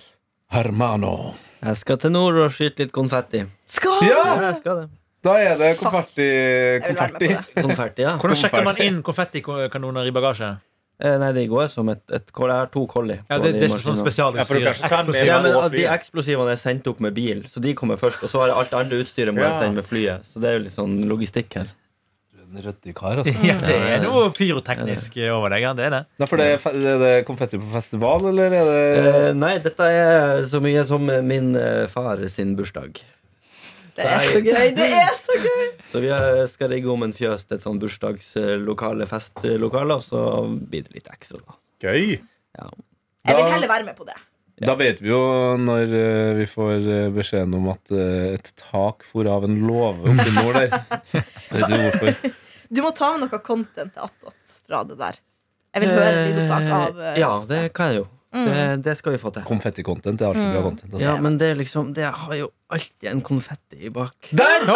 Speaker 2: Hermano.
Speaker 4: Jeg skal til nord og skyte litt konfetti.
Speaker 3: Skal
Speaker 4: Ja,
Speaker 2: Ja!
Speaker 4: jeg skal det.
Speaker 2: Da er det konferti.
Speaker 3: Jeg vil være med på det.
Speaker 4: Konfetti, ja.
Speaker 6: Hvordan sjekker man inn konfettikanoner i bagasje?
Speaker 4: Eh, Nei, det går som et, et koll. Jeg har to kolli.
Speaker 6: Ja, det, det er ikke sånn
Speaker 5: Ja, for du
Speaker 6: spesialutstyr.
Speaker 5: kan ikke ta den med.
Speaker 4: Ja,
Speaker 6: eksplosiv.
Speaker 4: men
Speaker 5: og
Speaker 4: at De
Speaker 5: flyet.
Speaker 4: eksplosivene er sendt opp med bil, så de kommer først. Og så har jeg alt andre utstyret må jeg
Speaker 5: Ja.
Speaker 4: sende med flyet. Så det er jo litt sånn logistikk her.
Speaker 2: En ryddig kar, altså.
Speaker 6: Ja, det er noe pyroteknisk over deg. Ja, det er det.
Speaker 2: Nei, for det er, fe- er det konfetti på festival, eller er det
Speaker 4: Eh, nei, dette er så mye som eh, min eh, far sin bursdag.
Speaker 3: Det er så gøy! Det er så gøy!
Speaker 4: Så vi eh, skal rigge om en fjøs til et sånn bursdagslokale, festlokale, og så blir det litt ekstra, da.
Speaker 5: Gøy.
Speaker 4: Ja.
Speaker 3: Jeg vil
Speaker 2: Da-
Speaker 3: heller være med på det.
Speaker 2: Da vet vi jo når eh, vi får eh, beskjeden om at eh, et tak for av en låve oppe i nord der. Vet du hvorfor?
Speaker 3: Du må ta med noe content til attåt fra det der. Jeg vil høre lydopptak av
Speaker 4: Eh, Ja, det kan jeg jo. Det, det skal vi få til.
Speaker 2: Konfetti-content er alltid bra content. Altså.
Speaker 4: Mm. Ja, men det er liksom Det har jo alltid en konfetti bak.
Speaker 2: Der!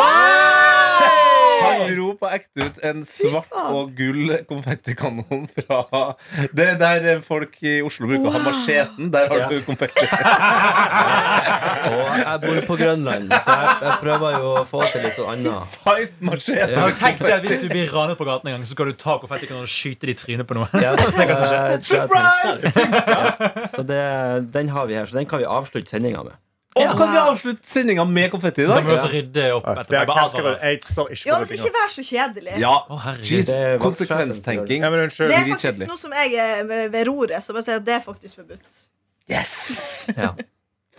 Speaker 2: Han dro på ekte ut en svart
Speaker 3: faen.
Speaker 2: og gull konfettikanon fra Det er der folk i Oslo bruker å ha macheten. Der har
Speaker 4: Ja.
Speaker 2: du konfetti.
Speaker 4: Og jeg bor på Grønland, så jeg, jeg prøver jo å få til litt sånn annet.
Speaker 2: Fight machete.
Speaker 6: Jeg har tenkt det at Hvis du blir ranet på gaten en gang, så skal du ta konfettikanoner og skyte det i trynet på noen.
Speaker 4: Ja, så jeg- så jeg tenkte-
Speaker 2: Surprise!
Speaker 4: Ja, så det, den har vi her, så den kan vi avslutte sendinga med.
Speaker 2: Og kan vi avslutte sendinga med konfetti i
Speaker 6: Da
Speaker 2: dag?
Speaker 6: må vi også rydde opp
Speaker 5: Det
Speaker 6: etterpå.
Speaker 5: er
Speaker 6: Jeg bare
Speaker 5: kanskje,
Speaker 6: advarer.
Speaker 5: jeg står ikke på
Speaker 3: Johannes,
Speaker 5: det
Speaker 3: ikke
Speaker 5: tinget.
Speaker 3: vær så kjedelig.
Speaker 2: Ja.
Speaker 6: Å, herregud.
Speaker 2: Jeez.
Speaker 4: Det er
Speaker 2: Konsekvenstenking.
Speaker 5: Ja, men unnskyld.
Speaker 3: Det er
Speaker 2: Litt
Speaker 3: faktisk
Speaker 2: kjedelig.
Speaker 3: nå som jeg er ved ved roret, så bare sier jeg at det er faktisk forbudt.
Speaker 2: Yes!
Speaker 4: Ja.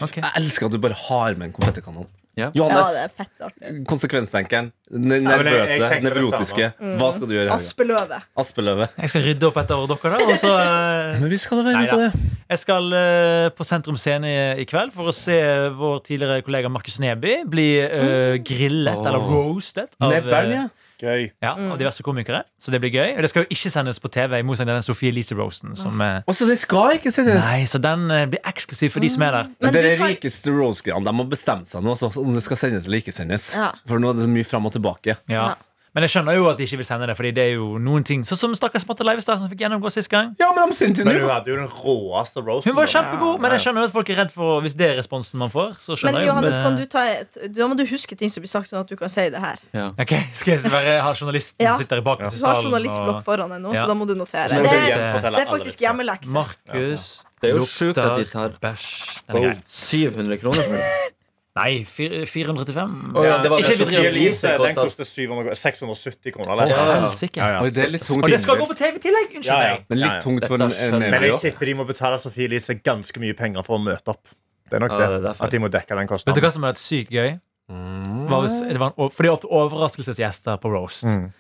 Speaker 6: Ok.
Speaker 2: Jeg elsker at du bare har med en konfettikanon.
Speaker 4: Ja.
Speaker 3: Ja,
Speaker 2: Johannes,
Speaker 3: det er fett artig.
Speaker 2: konsekvenstenkeren. Den
Speaker 5: men jeg-
Speaker 2: nervøse,
Speaker 5: jeg tenkte det
Speaker 2: nevrotiske.
Speaker 3: Mm.
Speaker 2: Hva skal du gjøre i helga?
Speaker 3: Aspeløvet.
Speaker 2: Aspeløve.
Speaker 6: Jeg skal rydde opp etter dere, da. Og så eh,
Speaker 2: Men vi skal da være
Speaker 6: Nei
Speaker 2: med på
Speaker 6: da.
Speaker 2: det.
Speaker 6: Jeg skal eh, på Sentrum Scene i- i kveld for å se vår tidligere kollega Markus Neby bli eh, grillet
Speaker 4: Åh.
Speaker 6: eller roastet av,
Speaker 2: Nebbern,
Speaker 6: eh,
Speaker 2: ja.
Speaker 5: Gøy.
Speaker 6: ja, av diverse komikere. Så det blir gøy. Og det skal jo ikke sendes på TV, i motsetning til den Sophie Elise-roasten. som, eh,
Speaker 2: Og så Altså, det skal ikke sendes.
Speaker 6: Nei, så den eh, blir eksklusiv for de som er der.
Speaker 3: Men
Speaker 2: Men det
Speaker 3: du
Speaker 2: er
Speaker 3: tar-
Speaker 2: rikeste roast-greiene. De må bestemme seg nå. Altså, om det skal sendes eller ikke sendes.
Speaker 3: Ja.
Speaker 2: For nå er det så mye fram og tilbake.
Speaker 6: Ja. Men jeg skjønner jo at de ikke vil sende det, Fordi det er jo noen ting Sånn som stakkars Marte Leivestad, som fikk gjennomgå sist gang.
Speaker 2: Ja, men de sendte
Speaker 5: Men hun hadde jo den råeste roasten.
Speaker 6: Hun var
Speaker 5: da.
Speaker 6: kjempegod, men jeg skjønner jo at folk er redd for Hvis det er responsen man får. Så
Speaker 3: Men
Speaker 6: skjønner jeg jo,
Speaker 3: Johannes, kan du ta et, da må du huske ting som blir sagt, sånn at du kan si det her.
Speaker 6: Ok, Skal jeg være, ha journalisten
Speaker 3: Ja.
Speaker 6: som sitter i bakgrunnen?
Speaker 3: Du
Speaker 6: i
Speaker 3: har
Speaker 6: salen og-
Speaker 3: journalistblokk foran deg nå,
Speaker 6: Ja.
Speaker 3: så da må du notere.
Speaker 6: Så
Speaker 5: Men
Speaker 3: Det
Speaker 5: det
Speaker 3: er,
Speaker 5: gjenforteller
Speaker 3: det er
Speaker 5: alle liksom.
Speaker 3: faktisk
Speaker 5: disse.
Speaker 3: hjemmelekse.
Speaker 6: Markus
Speaker 4: Det er jo
Speaker 6: lukter
Speaker 4: sjukt at de tar
Speaker 6: bæsj. Den er grei.
Speaker 4: 700 kroner for den.
Speaker 6: Nei, fir- 435.
Speaker 4: Å, ja, det var
Speaker 6: Ikke
Speaker 4: det Sofie
Speaker 6: vi
Speaker 5: Sophie
Speaker 6: driver-
Speaker 5: Elise
Speaker 4: Elise
Speaker 5: den
Speaker 4: kostet
Speaker 5: koster 700 670 kroner. eller?
Speaker 4: Ja.
Speaker 6: Helsike.
Speaker 5: Ja, ja.
Speaker 2: Oi, det er litt tungt.
Speaker 6: Og det skal gå
Speaker 2: innimellom.
Speaker 6: på TV i tillegg! Unnskyld
Speaker 5: Ja, ja.
Speaker 6: meg.
Speaker 2: Men litt
Speaker 5: Ja, ja.
Speaker 2: tungt for en
Speaker 4: Dette skjønner
Speaker 5: Men jeg
Speaker 2: nedbør.
Speaker 5: tipper de må betale Sophie Elise ganske mye penger for å møte opp. Det er nok
Speaker 4: Ja,
Speaker 5: det.
Speaker 4: det er derfor.
Speaker 5: At de må dekke den
Speaker 6: Vet du
Speaker 5: kostnaden.
Speaker 6: hva som hadde vært sykt gøy?
Speaker 4: Mm.
Speaker 6: Var hvis, det var en, o- for det er ofte overraskelsesgjester på roast.
Speaker 5: Mm.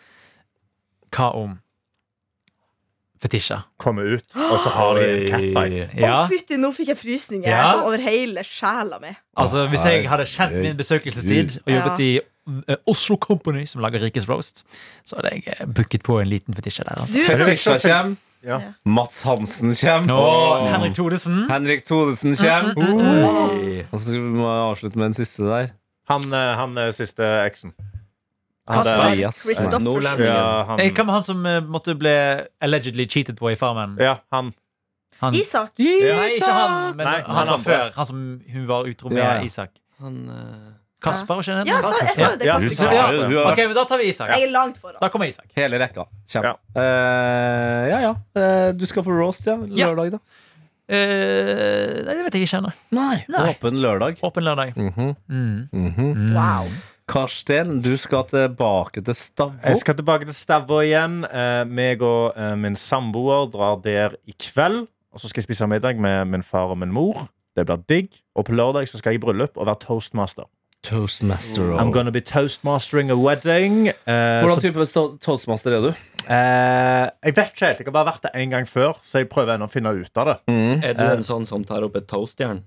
Speaker 6: Hva om Fetisha?
Speaker 5: Komme ut, og så har de en catfight.
Speaker 3: Å,
Speaker 6: Ja,
Speaker 3: fytti, nå fikk jeg frysninger
Speaker 6: Ja.
Speaker 3: sånn over hele sjela mi.
Speaker 6: altså Hvis jeg hadde kjent min
Speaker 2: Herregud.
Speaker 6: besøkelsestid og jobbet i eh, Oslo Company, som lager Rikes Roast, så hadde jeg eh, booket på en liten Fetisha der. Altså.
Speaker 3: Du er sånn
Speaker 2: Fetisha kommer.
Speaker 5: Ja.
Speaker 2: Mats Hansen kommer.
Speaker 6: Å, Henrik Thodesen.
Speaker 3: mm.
Speaker 2: Henrik Thodesen kommer. Og så må jeg avslutte med en siste der.
Speaker 5: Han, eh, han eh, siste eksen. Han
Speaker 3: Kasper
Speaker 5: der-
Speaker 2: Elias.
Speaker 3: Christoffersen.
Speaker 5: Ja, han,
Speaker 6: Eh, Hva med han som eh, måtte bli allegedly cheated på i Farmen?
Speaker 5: ja, han.
Speaker 6: Han.
Speaker 3: Isak.
Speaker 6: Nei, ikke han, men
Speaker 5: Nei,
Speaker 6: han,
Speaker 5: han
Speaker 6: som
Speaker 5: andre.
Speaker 6: før. Han som hun var utro med,
Speaker 2: Ja.
Speaker 6: Isak.
Speaker 4: Han eh,
Speaker 6: Kasper, ikke
Speaker 3: Ja, jeg sa, jeg sa jo det.
Speaker 5: Ja,
Speaker 2: Du
Speaker 5: du
Speaker 2: sa
Speaker 3: Kasper.
Speaker 5: Ja.
Speaker 2: jo, hun har
Speaker 6: Ok, men Da tar vi Isak.
Speaker 3: Jeg er langt foran.
Speaker 6: Da kommer Isak.
Speaker 2: hele rekka. Kjem.
Speaker 5: Ja.
Speaker 2: Ja. ja, ja. Eh, du skal på roast, ja?
Speaker 6: Ja.
Speaker 2: Lørdag, da?
Speaker 6: Eh, nei, det vet jeg ikke ennå.
Speaker 2: Nei.
Speaker 6: Nei.
Speaker 2: Åpen lørdag.
Speaker 6: Åpen lørdag.
Speaker 2: Mhm,
Speaker 6: Mm.
Speaker 2: mhm.
Speaker 3: Wow.
Speaker 2: Karsten, du skal tilbake til Stavå.
Speaker 5: Jeg skal tilbake til Stavå igjen. Eh, meg og eh, min samboer drar der i kveld. Og så skal jeg spise middag med min far og min mor. Det blir digg. Og på lørdag så skal jeg i bryllup og være toastmaster.
Speaker 2: Toastmaster. og-
Speaker 5: I'm gonna be toastmastering a wedding. Eh,
Speaker 2: Oh. Hvordan
Speaker 5: så,
Speaker 2: type to- toastmaster er du?
Speaker 5: eh, jeg vet ikke helt. Jeg har bare vært det én gang før, så jeg prøver ennå å finne ut av det.
Speaker 2: Mm.
Speaker 4: Er du en sånn som tar opp et toastjern?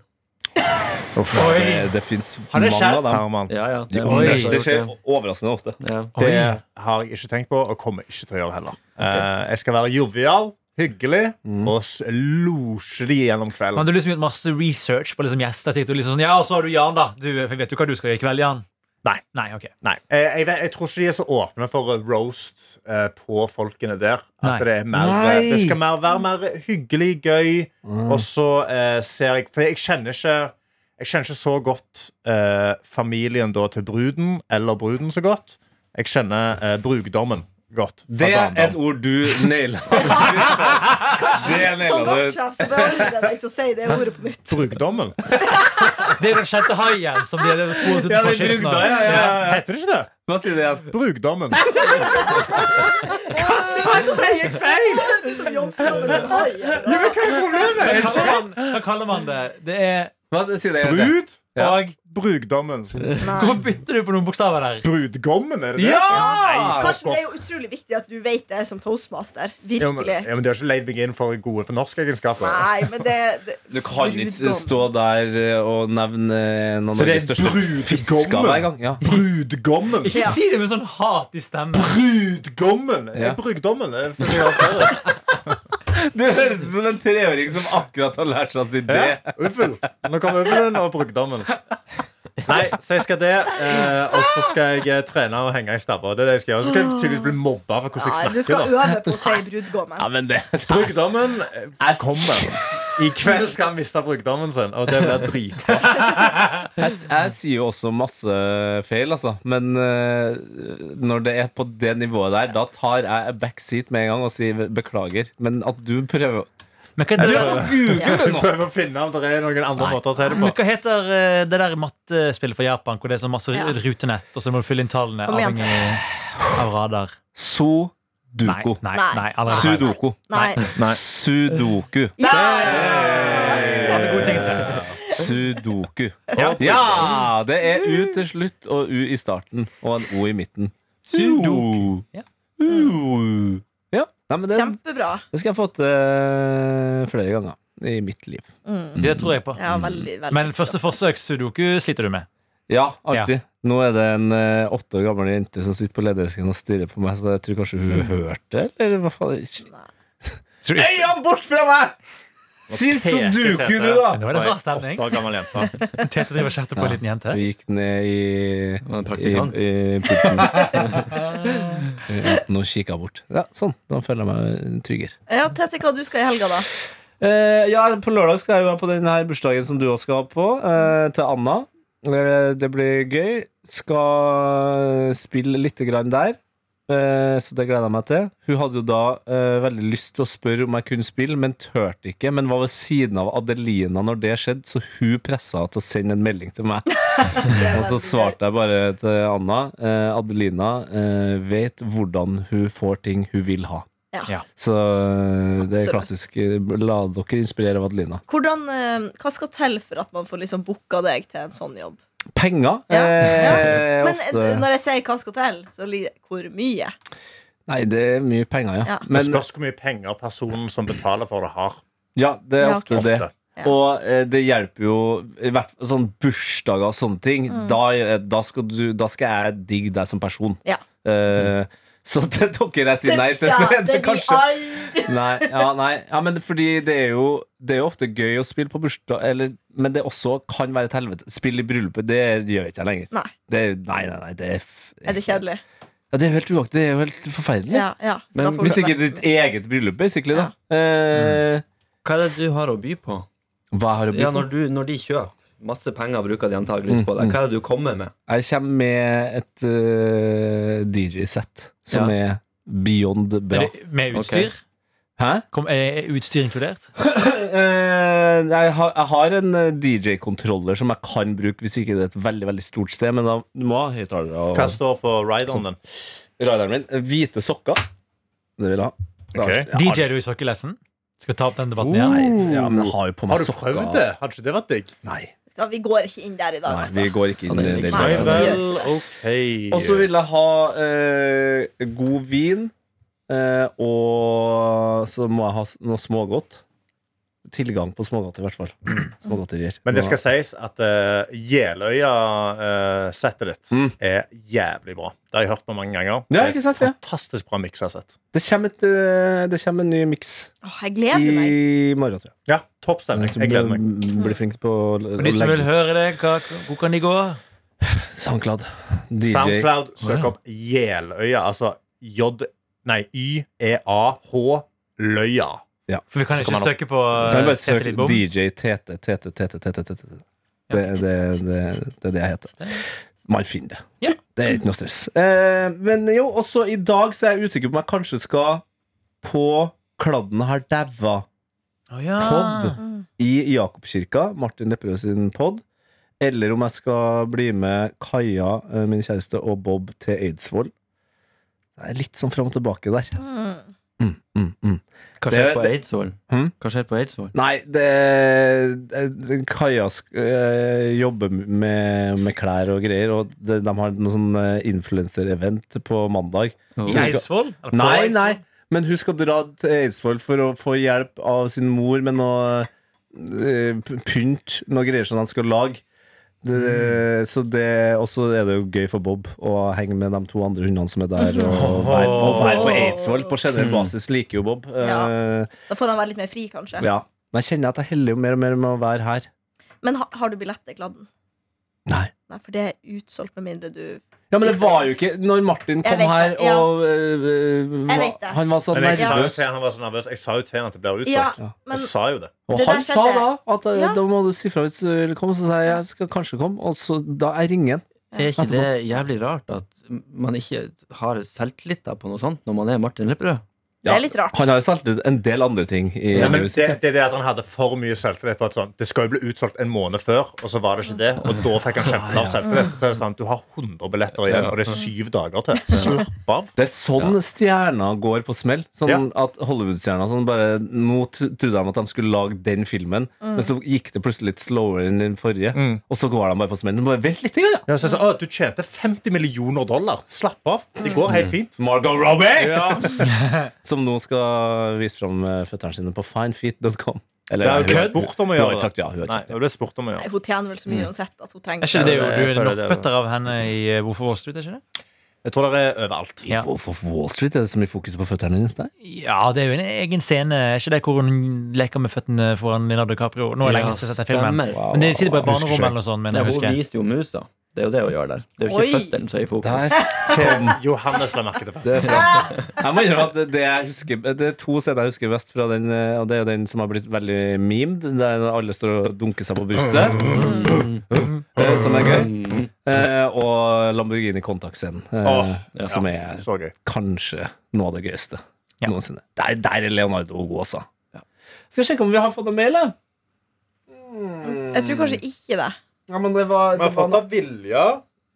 Speaker 2: Eh, Det, det fins
Speaker 6: Har
Speaker 2: mange
Speaker 6: det skjedd?
Speaker 2: av dem.
Speaker 5: Herman.
Speaker 4: Ja, ja.
Speaker 2: De,
Speaker 4: er
Speaker 6: Oi.
Speaker 2: det,
Speaker 4: mange som har
Speaker 2: det
Speaker 4: gjort
Speaker 2: skjer overraskende ofte.
Speaker 4: Ja.
Speaker 6: Oi.
Speaker 5: Det har jeg ikke tenkt på, og kommer ikke til å gjøre heller. Eh, jeg skal være jovial, hyggelig,
Speaker 2: Mm.
Speaker 5: og s- losje de gjennom
Speaker 6: Men
Speaker 5: kvelden.
Speaker 6: Hadde du liksom gjort masse research på liksom gjester? Tenkte du liksom sånn, ja, og så har du Jan, da. Du, jeg vet du hva du skal gjøre i kveld, Jan?
Speaker 5: Nei.
Speaker 6: Nei, ok.
Speaker 5: Nei, Eh, jeg, jeg, vet- jeg tror ikke de er så åpne for roast eh, på folkene der. At
Speaker 6: Nei.
Speaker 5: det, er mer, eh,
Speaker 2: Nei.
Speaker 5: det skal mer, være mer hyggelig, gøy, og så eh, ser jeg For jeg kjenner ikke jeg kjenner ikke så godt eh, familien da til bruden, eller bruden så godt. Jeg kjenner eh, brugdommen godt. fra
Speaker 2: Det er
Speaker 5: barndom.
Speaker 2: et ord du naila. det naila
Speaker 3: Som
Speaker 2: du.
Speaker 3: vaktsjef så beordrer jeg deg til å si det ordet på nytt.
Speaker 5: Brugdommen?
Speaker 6: Det er den sjette haien som de hadde sporet ut
Speaker 2: Ja, det er
Speaker 6: for kysten av.
Speaker 2: brugda, ja, ja, ja.
Speaker 5: Heter det ikke det?
Speaker 2: Hva sier du igjen?
Speaker 5: Brugdommen.
Speaker 3: Det høres ut som jomfrudommen til en hai. eller?
Speaker 6: Da kaller man, hva kaller man det? Det er
Speaker 2: Hva sier du igjen?
Speaker 5: Brud
Speaker 2: Ja.
Speaker 6: og
Speaker 5: brugdommen.
Speaker 6: Hvorfor bytter du på noen bokstaver der?
Speaker 5: Brudgommen, er det det?
Speaker 6: Ja!
Speaker 3: Karsten, det er jo utrolig viktig at du vet det som toastmaster.
Speaker 5: Ja, men,
Speaker 3: Virkelig.
Speaker 5: ja, men De har ikke leid meg inn for gode fornorskegenskaper.
Speaker 3: Nei, men det, det
Speaker 2: Du kan ikke
Speaker 3: Brudgommen.
Speaker 2: stå der eh, og nevne eh, noen
Speaker 5: Så
Speaker 2: av de
Speaker 5: det er
Speaker 2: største
Speaker 5: brudgommen?
Speaker 2: fiska hver gang. Ja.
Speaker 5: Brudgommen!
Speaker 6: Ikke si det med sånn hat i stemmen.
Speaker 5: Brudgommen!
Speaker 2: Ja.
Speaker 5: Brugdommen. det synes jeg var større.
Speaker 2: Du høres ut som en treåring som akkurat har lært seg sin idé.
Speaker 5: Ja, Uffel. Nå kom uffelen og brugdommen. Nei, så jeg skal det. eh, Og så skal jeg eh, trene og henge i stabber. Det er det jeg skal gjøre. Så skal jeg tydeligvis bli mobba for hvordan
Speaker 3: Nei, du
Speaker 5: jeg
Speaker 3: skal
Speaker 5: snakker.
Speaker 3: øve på å si brudgommen.
Speaker 2: Ja, men det
Speaker 5: da Brugdommen eh, kommer. I kveld skal han miste brugdommen sin, og det blir drit.
Speaker 2: jeg, jeg sier jo også masse feil, altså. Men eh, når det er på det nivået der, da tar jeg a backseat med en gang og sier beklager. Men at du prøver
Speaker 6: Men hva, er det,
Speaker 5: prøver.
Speaker 2: Google
Speaker 5: Jeg prøver å finne om det er noen andre måter å si det
Speaker 6: men
Speaker 5: på.
Speaker 6: hva heter eh, det der mattespillet for Japan hvor det er så masse
Speaker 3: Ja.
Speaker 6: rutenett, og så må du fylle inn tallene
Speaker 3: Kom igjen.
Speaker 6: avhengig av radar? Nei,
Speaker 2: Sudoku.
Speaker 6: nei,
Speaker 3: Nei.
Speaker 6: nei allerede feil.
Speaker 2: Sudoku.
Speaker 3: Nei.
Speaker 2: Sudoku.
Speaker 6: Hadde god tenkt det.
Speaker 2: Sudoku.
Speaker 5: Ja.
Speaker 2: Ja! Det er U til slutt og U i starten og en O i midten. Sudoku.
Speaker 6: Ja.
Speaker 2: U. Ja. Nei, men det,
Speaker 3: Kjempebra.
Speaker 2: det skal jeg få til flere ganger i mitt liv.
Speaker 6: Det tror jeg på.
Speaker 3: Mm. Ja, veldig, veldig.
Speaker 6: Men første forsøk, sudoku, sliter du med.
Speaker 2: Ja, alltid. Nå er det en eh, åtte år gammel jente som sitter på ledersken og stirrer på meg, så jeg tror kanskje hun hørte, eller hva faen?
Speaker 6: Tror du-
Speaker 2: han bort fra meg! Si
Speaker 5: Tete,
Speaker 2: sudoku,
Speaker 5: Tete.
Speaker 2: du, da!
Speaker 6: Det var det rar stemning.
Speaker 5: Åtte år gammel jente.
Speaker 6: Tete driver og kjefter på en liten jente.
Speaker 2: Hun gikk ned i
Speaker 4: Var det en
Speaker 2: i,
Speaker 4: praktikant?
Speaker 2: i pulten. Uten å kikke bort. Ja, sånn. Da føler jeg meg tryggere.
Speaker 3: Ja, Tete, hva du skal i helga, da?
Speaker 2: Eh, ja, på lørdag skal jeg jo være på den her bursdagen som du også skal på, eh, til Anna. Eh, det blir gøy. Skal spille lite grann der. Eh, så det gleder jeg meg til. Hun hadde jo da eh, veldig lyst til å spørre om jeg kunne spille, men turte ikke. Men var ved siden av Adelina når det skjedde, så hun pressa henne til å sende en melding til meg. Og så svarte jeg bare til Anna. Eh, Adelina eh, vet hvordan hun får ting hun vil ha.
Speaker 3: Ja.
Speaker 6: Ja.
Speaker 2: Så eh, det
Speaker 3: Absolutt.
Speaker 2: er klassisk. eh, La dere inspirere av Adelina.
Speaker 3: Hvordan, eh, hva skal til for at man får liksom booka deg til en sånn jobb?
Speaker 2: Penger
Speaker 3: Ja.
Speaker 2: eh,
Speaker 3: Men
Speaker 2: ofte
Speaker 3: eh, når jeg sier hva skal til, så li- hvor mye?
Speaker 2: Nei, det er mye penger, ja.
Speaker 3: Ja.
Speaker 5: Det
Speaker 2: Men
Speaker 5: spørs hvor mye penger personen som betaler for det, har.
Speaker 2: ja, det er
Speaker 3: Ja,
Speaker 2: ofte
Speaker 3: ok.
Speaker 2: det.
Speaker 5: Ofte.
Speaker 3: Ja.
Speaker 2: Og eh, det hjelper jo i hvert fall sånn bursdager
Speaker 3: Mm.
Speaker 2: og sånne ting. Da, eh, da, skal du, da skal jeg digge deg som person.
Speaker 3: Ja.
Speaker 2: Eh, Så til dere jeg sier nei til, så er
Speaker 3: ja, det
Speaker 2: det
Speaker 3: blir
Speaker 2: kanskje
Speaker 3: aldri
Speaker 2: Nei, ja, nei. Ja, men fordi det er jo Det er jo ofte gøy å spille på bursdag, eller, men det også kan være et helvete. Spill i bryllupet, det gjør ikke jeg lenger.
Speaker 3: Nei.
Speaker 2: Det er, nei, nei, nei, det er, f-
Speaker 3: Er det kjedelig?
Speaker 2: Ja, det er jo helt uaktig. Det er jo helt forferdelig.
Speaker 3: Ja, ja. Da
Speaker 4: Men
Speaker 3: får
Speaker 2: Hvis
Speaker 3: du
Speaker 2: ikke
Speaker 3: oppmerksomhet.
Speaker 2: ditt eget bryllup, basically, da. Eh,
Speaker 4: Hva er det du har å by på?
Speaker 2: hva har jeg
Speaker 4: Mm. Ja,
Speaker 2: blitt?
Speaker 4: når, du, når de kjøper masse penger, bruker de antakeligvis på
Speaker 2: Mm,
Speaker 4: deg. Hva er det du kommer med?
Speaker 2: Jeg kommer med et DJ-sett som er beyond bra.
Speaker 6: Er det Med utstyr?
Speaker 2: Hæ?
Speaker 6: Kom, er er utstyr inkludert?
Speaker 2: Eh, jeg, har, jeg har en DJ-kontroller som jeg kan bruke hvis ikke det er et veldig veldig stort sted. Men da du må ha høyttalere.
Speaker 5: Hva
Speaker 2: og- Sånn.
Speaker 5: står på ride-on-en?
Speaker 2: Radaren min. Hvite sokker. Det vil jeg ha.
Speaker 5: Ok.
Speaker 2: Ja, Uh.
Speaker 6: DJ er du i sokkelessen? Skal vi ta opp den debatten igjen?
Speaker 2: Ja, men jeg har jo på meg
Speaker 5: Har du
Speaker 2: sokker.
Speaker 5: prøvd det? Hadde ikke det vært digg?
Speaker 2: Nei,
Speaker 3: Ja, Vi går ikke inn der i dag,
Speaker 2: nei,
Speaker 3: altså.
Speaker 2: vi går ikke inn i det.
Speaker 3: Nei,
Speaker 2: der.
Speaker 3: vel.
Speaker 2: Og så vil jeg ha eh, god vin, eh, og så må jeg ha s- noe smågodt. Tilgang på smågodt, i hvert fall. Smågodterier.
Speaker 5: Mm. Men det skal sies at uh, Jeløya-settet ditt
Speaker 2: Mm.
Speaker 5: er jævlig bra. Det har jeg hørt på mange ganger.
Speaker 2: Ja, ikke sant, ja.
Speaker 5: Fantastisk bra miksa sett.
Speaker 2: det, kommer et, eh, det kommer en ny miks
Speaker 3: Åh, jeg gleder meg.
Speaker 2: i morgen, tror jeg.
Speaker 5: Ja, topp stemning.
Speaker 2: Som
Speaker 5: Jeg gleder meg.
Speaker 2: blir- Blir flink på å l- å
Speaker 6: Og de som vil
Speaker 2: legge ut.
Speaker 6: høre det, hva, hvor kan de gå?
Speaker 2: SoundCloud. DJ.
Speaker 5: Soundcloud,
Speaker 6: Å,
Speaker 5: søk
Speaker 6: ja.
Speaker 5: opp Jeløya. Altså J... Nei, E Y-E-A-H-Løya.
Speaker 6: For vi kan
Speaker 5: Så
Speaker 6: ikke
Speaker 5: kan man-
Speaker 6: søke på
Speaker 2: Kan jeg
Speaker 6: eh,
Speaker 2: bare
Speaker 6: Tete
Speaker 2: søke
Speaker 6: Lidbom.
Speaker 2: DJ Tete, Tete, Tete, Tete, Tete. Tete. Det, det, det, det er det jeg heter. Man finner det.
Speaker 6: Ja.
Speaker 2: Det er ikke noe stress. Eh, men jo, også i dag så er jeg usikker på om jeg kanskje skal på Kladden har daua
Speaker 6: Å, ja.
Speaker 2: pod
Speaker 6: Ah.
Speaker 2: i Jakobkirka, Martin Lepperød sin pod. Eller om jeg skal bli med Kaja, eh, min kjæreste, og Bob til Eidsvoll. Det er litt sånn fram og tilbake der.
Speaker 3: Mm.
Speaker 2: Mm, mm, mm.
Speaker 4: Hva
Speaker 2: Det-
Speaker 4: skjer på
Speaker 2: det-
Speaker 4: Eidsvoll?
Speaker 2: Hm?
Speaker 4: Hva skjer på Eidsvoll?
Speaker 2: Nei, det, det- Kaja sk- eh, jobber med, med klær og greier, og det, de har noe sånn eh, influencer-event på mandag.
Speaker 4: Oh.
Speaker 6: I Eidsvoll? Eller på
Speaker 2: Nei,
Speaker 6: Eidsvoll?
Speaker 2: nei, men hun skal dra til Eidsvoll for å få hjelp av sin mor med noe eh, p- pynt, noe greier som de skal lage. Det,
Speaker 6: Mm.
Speaker 2: Så det, og så er det jo gøy for Bob å henge med de to andre hundene som er der. Og være, og være på Eidsvoll på
Speaker 6: Mm.
Speaker 2: generell basis liker jo Bob.
Speaker 3: Ja.
Speaker 2: Eh,
Speaker 3: Da får han være litt mer fri, kanskje.
Speaker 2: ja. Men jeg kjenner at jeg heller jo mer og mer med å være her.
Speaker 3: Men ha, har du billett til Kladden?
Speaker 2: Nei.
Speaker 3: Nei, for det er utsolgt med mindre du
Speaker 2: Ja, men det var jo ikke Når Martin kom
Speaker 3: Jeg vet
Speaker 2: her
Speaker 3: det, ja.
Speaker 2: og øh,
Speaker 3: Jeg
Speaker 2: var-
Speaker 3: vet det.
Speaker 2: Han var sånn
Speaker 5: Men jeg
Speaker 2: nervøs.
Speaker 5: sa jo
Speaker 2: Og
Speaker 5: til han var så nervøs. Jeg sa jo til han at det blir
Speaker 3: Ja,
Speaker 5: utsolgt.
Speaker 3: men
Speaker 5: Jeg sa jo det.
Speaker 3: Det der
Speaker 2: han sa
Speaker 3: skjedde.
Speaker 2: da at øh,
Speaker 3: Ja.
Speaker 2: da må du si fra hvis du vil komme, så sa jeg jeg skal kanskje komme. Og så da jeg ringer han.
Speaker 4: Er ikke det jævlig rart at man ikke har selvtillit da på noe sånt når man er Martin Lepperød?
Speaker 3: det er litt rart.
Speaker 2: Han har jo saltet en del andre ting i
Speaker 5: Ja, men
Speaker 2: livet
Speaker 5: det,
Speaker 2: sitt.
Speaker 5: det er det at han hadde for mye selvtillit. på at sånn, Det skal jo bli utsolgt en måned før, og så var det ikke det. Og da fikk han kjempelav selvtillit. Så er det sånn, Du har 100 billetter igjen, og det er syv dager til. Slapp av.
Speaker 2: Det er sånn stjerna går på smell. Sånn at Hollywood-stjerna sånn bare Nå tr- trodde de at de skulle lage den filmen,
Speaker 3: Mm.
Speaker 2: men så gikk det plutselig litt slowere enn den forrige.
Speaker 5: Mm.
Speaker 2: Og så går de bare på smell. Bare, Vent litt, grann, ja.
Speaker 5: Ja, så er det sånn, å, du tjente 50 millioner dollar. Slapp av. Det går helt fint.
Speaker 2: Margot Robbie!
Speaker 5: Ja.
Speaker 2: Som nå skal vise fram eh, føttene sine på finefeet.com.
Speaker 5: Det er
Speaker 2: Eller
Speaker 5: jo
Speaker 2: hun
Speaker 5: ikke
Speaker 2: har-
Speaker 5: spurt om å
Speaker 2: hun har
Speaker 5: gjøre
Speaker 2: ikke
Speaker 5: det.
Speaker 2: sagt ja. Hun har ikke
Speaker 5: Nei,
Speaker 2: sagt ja.
Speaker 5: det ble spurt om å
Speaker 3: Nei,
Speaker 5: gjøre
Speaker 3: Hun tjener vel så
Speaker 2: Mm.
Speaker 3: mye uansett at hun
Speaker 6: Er
Speaker 3: trenger
Speaker 6: ikke det jo,
Speaker 5: Jeg
Speaker 6: du er
Speaker 5: føler
Speaker 6: nok
Speaker 5: det-
Speaker 6: føtter av henne i eh, Hvorfor Wall Street, er ikke det?
Speaker 5: Jeg tror det er overalt.
Speaker 6: Ja.
Speaker 2: Og for Wall Street er det så mye fokus på føttene hennes der.
Speaker 6: ja, det er jo en egen scene. Er ikke det hvor hun leker med føttene foran Leonardo DiCaprio? Nå er det
Speaker 4: Ja,
Speaker 6: lenge siden jeg har sett den filmen.
Speaker 4: stemmer.
Speaker 6: Men de sitter på et
Speaker 2: Jeg husker
Speaker 6: barnerom eller noe sånt, men
Speaker 4: Ja, hun
Speaker 6: jeg husker.
Speaker 4: viser jo musa. Det er jo det hun gjør der. Det er jo ikke
Speaker 3: Oi.
Speaker 4: føttene som er i fokus.
Speaker 2: Der kom
Speaker 5: Johannes la merke til det.
Speaker 2: det fra. Jeg må innrømme at det- det, jeg husker, det er to scener jeg husker best fra den, eh, og det er jo den som har blitt veldig memed, der alle står og dunker seg på brystet, eh, som er gøy,
Speaker 4: Mm.
Speaker 2: eh, og Lamborghini Contact-scenen, eh,
Speaker 5: Åh,
Speaker 2: som er
Speaker 5: Så gøy.
Speaker 2: kanskje noe av det gøyeste
Speaker 6: Ja.
Speaker 2: noensinne. Der, der er Leonardo god også. Skal jeg sjekke om vi har fått noe mail, da?
Speaker 3: Jeg tror kanskje ikke det.
Speaker 2: Ja, men det var, det var noe-
Speaker 5: vilje.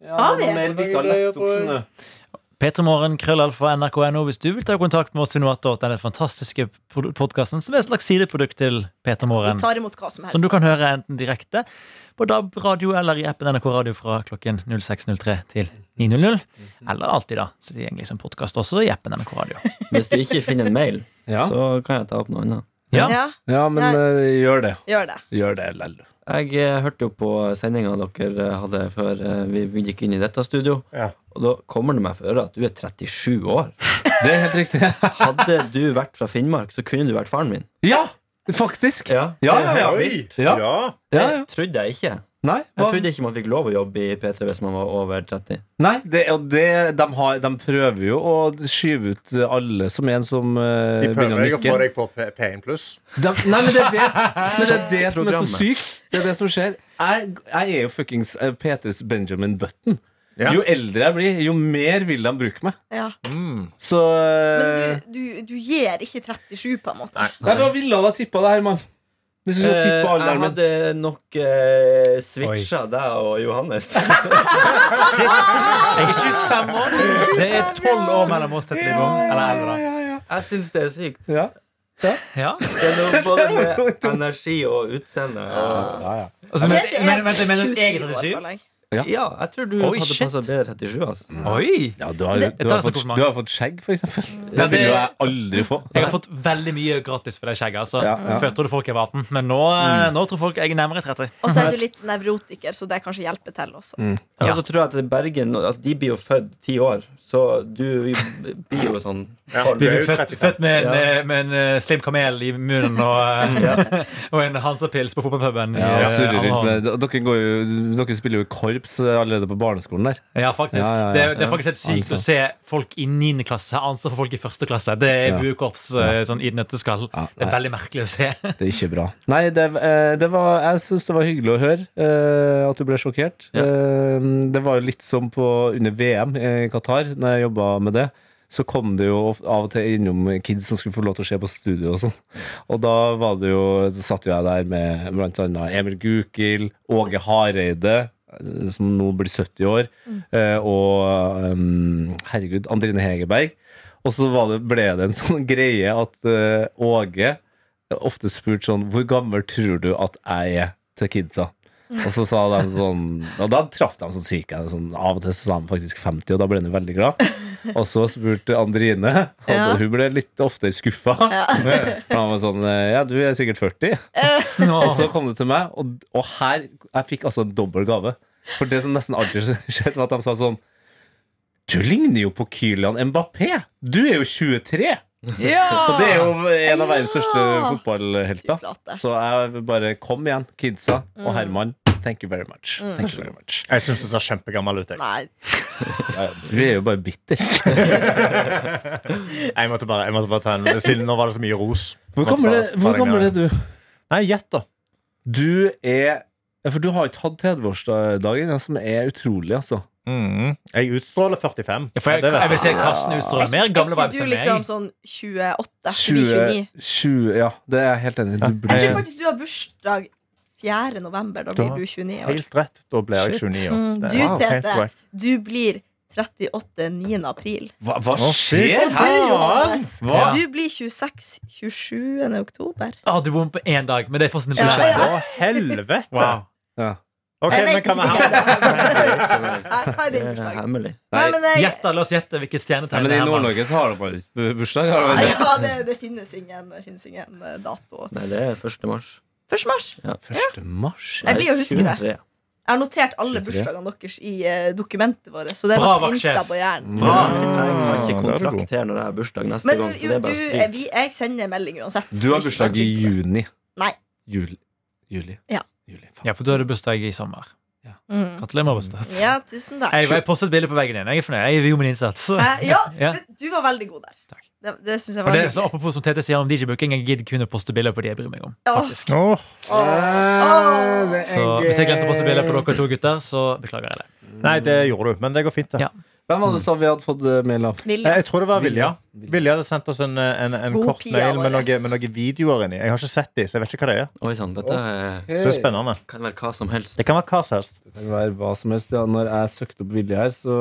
Speaker 2: ja,
Speaker 3: Har
Speaker 2: det var
Speaker 3: vi?
Speaker 2: noe mail vi ikke har lest opp. skjønner du.
Speaker 6: P3morgen, krøllalfa, nrk.no hvis du vil ta kontakt med oss til noe annet, denne fantastiske podkasten som er et slags sideprodukt til
Speaker 3: Vi
Speaker 6: P3morgen.
Speaker 3: tar imot hva som helst.
Speaker 6: Som du kan høre enten direkte på DAB radio eller i appen NRK Radio fra klokken 06.03 til 9.00.
Speaker 3: Mhm.
Speaker 6: Eller alltid, da. Så tilgjengelig som podkast også i appen NRK Radio.
Speaker 4: Hvis du ikke finner en mail,
Speaker 2: Ja.
Speaker 4: så kan jeg ta opp noe annet.
Speaker 6: Ja,
Speaker 3: Ja,
Speaker 2: Ja, men
Speaker 3: Jeg-
Speaker 2: eh, gjør det.
Speaker 3: gjør det.
Speaker 2: Gjør det, Lell.
Speaker 4: Jeg Jeg eh, hørte jo på sendinga dere eh, hadde før eh, vi gikk inn i dette studio.
Speaker 5: Ja.
Speaker 4: Og da kommer det meg for øre at du er 37 år.
Speaker 2: Det er helt riktig.
Speaker 4: Hadde du vært fra Finnmark, så kunne du vært faren min.
Speaker 2: Ja, faktisk.
Speaker 4: Ja,
Speaker 2: Ja, ja, ja.
Speaker 5: Oi!
Speaker 2: Ja. Ja, ja.
Speaker 4: Det trodde jeg ikke.
Speaker 2: Nei,
Speaker 4: Jeg
Speaker 2: hva-
Speaker 4: trodde ikke man fikk lov å jobbe i P3 hvis man var over 30.
Speaker 2: Nei, det, og det, de, har, de prøver jo å skyve ut alle som en som eh,
Speaker 5: De
Speaker 2: begynner å
Speaker 5: prøver å få
Speaker 2: nikke.
Speaker 5: deg på P- P1 pluss.
Speaker 2: De, nei, men det er det, men det, er det som er så
Speaker 4: Programmet.
Speaker 2: sykt. Det er det som skjer. Jeg, jeg er jo fuckings eh, Peters Benjamin Button.
Speaker 5: Ja.
Speaker 2: Jo eldre jeg blir, jo mer vil de bruke meg.
Speaker 3: Ja.
Speaker 2: Så eh,
Speaker 3: Men du, du, du gir ikke 37, på en måte.
Speaker 2: Nei, hva ville du ha tippa det her, mann? Hvis du skulle
Speaker 4: Eh,
Speaker 2: tippe
Speaker 4: jeg
Speaker 2: alderen min
Speaker 4: hadde nok eh, switcha deg og Johannes.
Speaker 6: Jeg er 25 år. Det er 12 år mellom oss til Trygve. Eller 11, da.
Speaker 4: Jeg syns det er sykt.
Speaker 2: ja.
Speaker 6: Ja.
Speaker 4: Det er noe både med energi og utseende. Og,
Speaker 6: Altså, men,
Speaker 3: Tete er
Speaker 6: men, men, men, men
Speaker 3: 27
Speaker 6: jeg er
Speaker 3: år,
Speaker 6: 37?
Speaker 3: føler jeg.
Speaker 4: ja, jeg tror du
Speaker 6: Oi,
Speaker 4: hadde
Speaker 6: shit.
Speaker 4: passa bedre 37. Altså.
Speaker 6: Oi!
Speaker 2: ja, du har, du, har
Speaker 6: Det- Det tar jeg som
Speaker 2: fått,
Speaker 6: kompliment.
Speaker 2: du har fått skjegg, for eksempel. Det
Speaker 6: det-
Speaker 2: vil jo jeg aldri få.
Speaker 6: Jeg har fått veldig mye gratis for det skjegget. Altså.
Speaker 2: Ja, Mm. ja.
Speaker 6: Før trodde folk jeg var 18, men nå, eh, nå tror folk jeg er nærmere 30.
Speaker 3: Og så er du litt nevrotiker, så det kanskje hjelper til også.
Speaker 6: Ja.
Speaker 4: Og så tror jeg at Bergen at de blir jo født ti år, så du blir jo sånn
Speaker 5: Ja,
Speaker 4: tolv.
Speaker 5: du er jo
Speaker 6: Født,
Speaker 5: 35.
Speaker 6: født med, en,
Speaker 4: Ja.
Speaker 6: eh, med en eh, slim kamel i munnen og, eh, og en Hansa-pils på fotballpuben. i,
Speaker 2: Ja,
Speaker 6: eh,
Speaker 2: surrer rundt med
Speaker 6: Amman.
Speaker 2: dere, går jo, dere spiller jo i korps allerede på barneskolen der.
Speaker 6: Ja, faktisk.
Speaker 2: Ja, ja, ja.
Speaker 6: Det, er- det er faktisk helt
Speaker 2: Ja,
Speaker 6: sykt
Speaker 2: altså.
Speaker 6: å se folk i 9. klasse ha ansvar for folk i 1. klasse. Det er
Speaker 2: Ja.
Speaker 6: buekorps eh, sånn, i et nøtteskall.
Speaker 2: Ja,
Speaker 6: Det er
Speaker 2: nei.
Speaker 6: veldig merkelig å se.
Speaker 2: Det er ikke bra. Nei, det, eh, det var, jeg syns det var hyggelig å høre eh, at du ble sjokkert. Eh, det var jo litt som på, under VM i Qatar, når jeg jobba med det. Så kom det jo of- av og til innom kids som skulle få lov til å se på studio og sånn. Og da var det jo, da satt jo jeg der med blant annet Emil Gukild, Åge Hareide, eh, som nå blir 70 år, eh, og eh, herregud, Andrine Hegerberg. Og så var det, ble det en sånn greie at eh, Åge ofte spurt sånn Hvor gammel tror du at jeg er til kidsa? Og så sa de sånn Og da traff de sånn cirka sånn, Av og til så sa de faktisk 50, og da ble han jo veldig glad. Og så spurte Andrine, og
Speaker 3: Ja.
Speaker 2: hun ble litt oftere skuffa. For han var sånn Ja, du er sikkert 40. Og
Speaker 6: altså.
Speaker 2: så kom du til meg, og, og her Jeg fikk altså en dobbel gave. For det som nesten alltid skjedde, var at de sa sånn Du ligner jo på Kylian Mbappé! Du er jo 23! Og det er jo en av verdens største
Speaker 3: Ja. Fy
Speaker 2: fotballhelter.
Speaker 3: flate.
Speaker 2: Så jeg vil bare kom igjen, kidsa
Speaker 5: Mm.
Speaker 2: og Herman. Thank you very much. Thank you very much.
Speaker 5: Jeg syns du ser kjempegammel ut. Jeg.
Speaker 3: Nei.
Speaker 2: Du er jo bare bitter.
Speaker 5: Jeg, måtte bare, jeg måtte bare ta en Siden nå var det så mye ros.
Speaker 2: Hvor
Speaker 5: Måtte
Speaker 2: gammel
Speaker 5: bare
Speaker 2: er,
Speaker 5: ta
Speaker 2: hvor
Speaker 5: den
Speaker 2: gammel er
Speaker 5: greia.
Speaker 2: du?
Speaker 5: Nei, gjett, da.
Speaker 2: Du er ja, For du har ikke hatt 30-årsdagen, ja, som er utrolig, altså.
Speaker 5: Mhm. Jeg utstråler 45.
Speaker 6: Mm. Ja, for jeg,
Speaker 5: Ja, det vet
Speaker 6: jeg vil
Speaker 5: jeg.
Speaker 6: se Karsten utstråler mer gamle
Speaker 3: Er
Speaker 6: vibes
Speaker 3: ikke
Speaker 6: enn
Speaker 3: du
Speaker 6: meg.
Speaker 3: liksom sånn 28? 29?
Speaker 2: 20, 20 Ja, det er jeg helt enig i. Du
Speaker 3: Jeg
Speaker 2: blir
Speaker 3: tror faktisk du har bursdag 4. november. Da blir
Speaker 5: Da-
Speaker 3: du 29 år.
Speaker 5: Helt rett. Da ble jeg
Speaker 2: Shit.
Speaker 5: 29 år.
Speaker 3: Mm,
Speaker 5: Det
Speaker 3: du,
Speaker 5: er helt
Speaker 3: Tete.
Speaker 5: korrekt.
Speaker 3: Du blir 38. 9. april.
Speaker 2: Hva, hva
Speaker 5: Å,
Speaker 2: skjer?
Speaker 3: Og du, Johannes,
Speaker 6: Hva?
Speaker 3: du blir 26. 27. oktober.
Speaker 6: Å, du bor på én dag, men det er fortsatt en
Speaker 3: Ja.
Speaker 6: bursdag.
Speaker 5: Å, helvete!
Speaker 6: Wow.
Speaker 2: Ja.
Speaker 5: Ok,
Speaker 3: Jeg
Speaker 5: men
Speaker 3: vet
Speaker 5: kan vi
Speaker 3: ikke.
Speaker 5: ha
Speaker 3: Nei, Hva er
Speaker 4: Det
Speaker 3: din
Speaker 4: er
Speaker 3: bursdag?
Speaker 4: hemmelig.
Speaker 3: Nei, men jeg,
Speaker 6: Gjett, da, la oss gjette hvilket
Speaker 2: Nei, men
Speaker 6: stjernetegn
Speaker 2: I
Speaker 6: det er. mann.
Speaker 2: Nord-Norge så har de bare bu- bursdag. Har de
Speaker 3: Nei,
Speaker 2: det?
Speaker 3: ja, det, det finnes ingen, det finnes ingen eh, dato.
Speaker 4: Nei, det er 1. mars.
Speaker 3: 1. mars.
Speaker 2: 1. mars?
Speaker 3: Jeg blir å huske det.
Speaker 4: 23.
Speaker 3: Jeg har notert alle
Speaker 2: 23.
Speaker 3: bursdagene deres i eh, dokumentet vårt. Så det
Speaker 6: Bra,
Speaker 3: var printa
Speaker 6: vaktsjef.
Speaker 3: på hjernen.
Speaker 2: Mm,
Speaker 6: Bra!
Speaker 4: Jeg har ikke
Speaker 5: Ah, der er du god.
Speaker 4: kontrakt her når jeg har bursdag neste
Speaker 3: Men
Speaker 4: gang. Så
Speaker 3: jo,
Speaker 4: det
Speaker 3: du,
Speaker 4: er bare å
Speaker 3: eh,
Speaker 4: stryke.
Speaker 3: vi, jeg sender en melding uansett.
Speaker 2: Du har bursdag i juni.
Speaker 3: Nei.
Speaker 2: Jul, juli.
Speaker 3: Ja.
Speaker 2: Juli, faen.
Speaker 6: Ja, for du hadde bursdag i sommer.
Speaker 3: Mm.
Speaker 6: Gratulerer med bursdagen.
Speaker 3: Ja, tusen takk.
Speaker 6: Jeg, jeg postet et bilde på veggen din. Jeg er fornøyd. Jeg gjorde min innsats.
Speaker 3: Eh, ja,
Speaker 6: Ja.
Speaker 3: men du var veldig god der.
Speaker 6: Takk.
Speaker 3: Det, det syns jeg
Speaker 6: Og
Speaker 3: var
Speaker 6: det er så
Speaker 3: hyggelig.
Speaker 6: apropos som Tete sier om DJ-booking, jeg gidder kun å poste bilder på de jeg bryr meg om.
Speaker 3: Ja.
Speaker 6: faktisk
Speaker 5: Åh.
Speaker 3: Åh.
Speaker 6: Så hvis jeg glemte å poste bilder på dere to gutter, så beklager jeg det.
Speaker 5: Nei, det gjorde du, men det går fint, det.
Speaker 6: Ja.
Speaker 2: Hvem var det som vi hadde fått eh, mail av?
Speaker 5: Eh,
Speaker 3: Vilja.
Speaker 5: Jeg tror det var Vilja. Vilja hadde sendt oss en, eh, en, en
Speaker 3: God
Speaker 5: kort
Speaker 3: pia
Speaker 5: mail med,
Speaker 3: vår,
Speaker 5: noe,
Speaker 3: ass.
Speaker 5: med noen videoer inni. Jeg har ikke sett de, så jeg vet ikke hva det er.
Speaker 4: Oi sann, dette er,
Speaker 5: Så det er spennende.
Speaker 4: kan være hva som helst.
Speaker 5: Det kan være hva som helst.
Speaker 2: Det kan være hva som helst. Ja, når jeg søkte opp Vilje her, så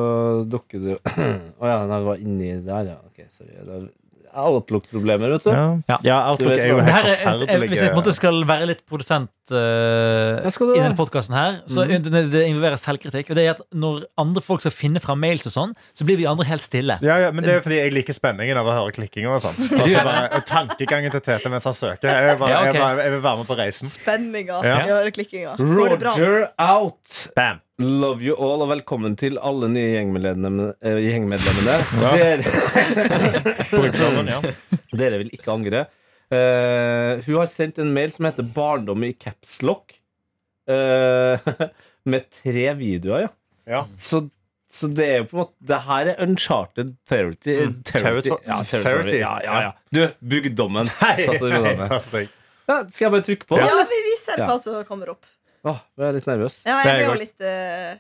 Speaker 2: dukket det jo Å ja, nei, det var inni der, ja. Ok, sorry. Det er- Jeg har Outlook-problemer, vet du.
Speaker 5: Ja,
Speaker 6: Ja.
Speaker 5: ja Outlook
Speaker 2: Du
Speaker 5: er
Speaker 2: vet
Speaker 5: jo
Speaker 2: hva-
Speaker 6: Det her
Speaker 5: helt
Speaker 6: er, jeg, hvis jeg på en måte
Speaker 5: forferdelig. eh.
Speaker 6: skal være litt produsent eh,
Speaker 2: Ja, skal du
Speaker 6: i
Speaker 2: det?
Speaker 6: denne podkasten her. Så det, det involverer selvkritikk. Og det er at når andre folk skal finne fram mails og sånn, så blir vi andre helt stille.
Speaker 5: Ja, ja, men det er fordi jeg liker spenningen av å høre klikkinger og sånn. Og så bare- og tankegangen til Tete mens han søker. Jeg, bare,
Speaker 6: Ja, ok.
Speaker 5: jeg, bare, jeg vil være med på reisen.
Speaker 3: Spenninga
Speaker 5: Ja.
Speaker 3: i øreklikkinga. Går det bra?
Speaker 2: Roger out!
Speaker 5: Bam.
Speaker 2: Love you all, og velkommen til alle nye gjengmedlemmene. eh, gjengmedlemmene. Dere,
Speaker 5: Brukeren, ja.
Speaker 2: dere vil ikke angre. Eh, hun har sendt en mail som heter 'Barndom i capslock'. Uh, med tre videoer, ja.
Speaker 5: Ja.
Speaker 2: Så, så det er jo på en måte Det her er uncharted territory. territory.
Speaker 5: Mm. Territory.
Speaker 2: Ja, territory. Ja, ja, ja. Du, bygdommen. Ta så rolig ned.
Speaker 5: Pass deg.
Speaker 2: Ja, skal jeg bare trykke på?
Speaker 3: Ja, vi, vi ser
Speaker 2: Ja.
Speaker 3: hva som kommer opp.
Speaker 2: Åh, nå er jeg litt nervøs.
Speaker 3: Ja,
Speaker 5: Det er
Speaker 3: jeg blir jo
Speaker 5: godt.
Speaker 3: litt eh,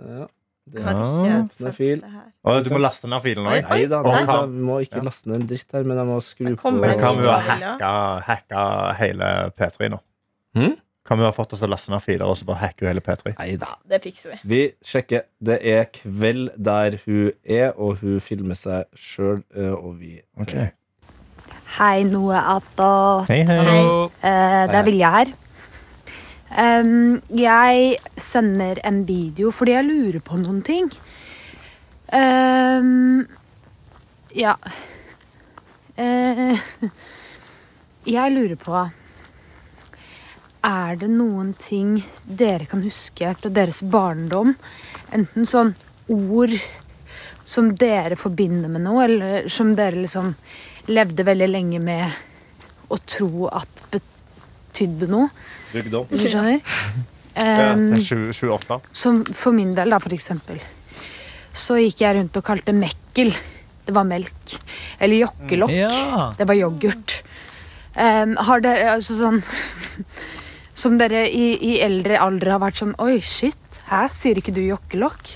Speaker 2: Ja.
Speaker 3: Jeg
Speaker 2: Det
Speaker 3: har
Speaker 2: er...
Speaker 3: ikke
Speaker 2: det er
Speaker 3: sett
Speaker 2: fil.
Speaker 3: det her.
Speaker 5: Å, du må laste ned filen òg.
Speaker 2: Nei da, nei da,
Speaker 5: Oi.
Speaker 2: vi må ikke laste ned en dritt her, men jeg må skru
Speaker 3: Men
Speaker 2: på
Speaker 3: kommer det
Speaker 5: Kan vi
Speaker 3: Ja.
Speaker 5: ha hacka, hacka hele P3 nå?
Speaker 2: Hm?
Speaker 5: Kan vi ha fått oss til å laste ned filer og så bare hacke hele P3?
Speaker 2: Nei da.
Speaker 3: Ja, det fikser vi.
Speaker 2: Vi sjekker. Det er kveld der hun er, og hun filmer seg sjøl, og vi
Speaker 5: Ok.
Speaker 8: Hei, Noe Atta.
Speaker 5: Hei, hei.
Speaker 8: Eh, det er Vilja her. Em, jeg sender en video fordi jeg lurer på noen ting. Em, ja Eh, Jeg lurer på Er det noen ting dere kan huske fra deres barndom? Enten sånn ord som dere forbinder med noe, eller som dere liksom levde veldig lenge med å tro at betydde noe.
Speaker 2: Bygdom.
Speaker 8: Hvis du skjønner?
Speaker 5: Ja,
Speaker 8: Ehm,
Speaker 5: det er 20 28.
Speaker 8: som for min del, da, for eksempel, så gikk jeg rundt og kalte mekkel. Det var melk. Eller jokkelokk.
Speaker 6: Ja.
Speaker 8: Det var yoghurt. Ehm, har dere altså sånn Som dere i, i eldre alder har vært sånn Oi, shit. Hæ, sier ikke du jokkelokk?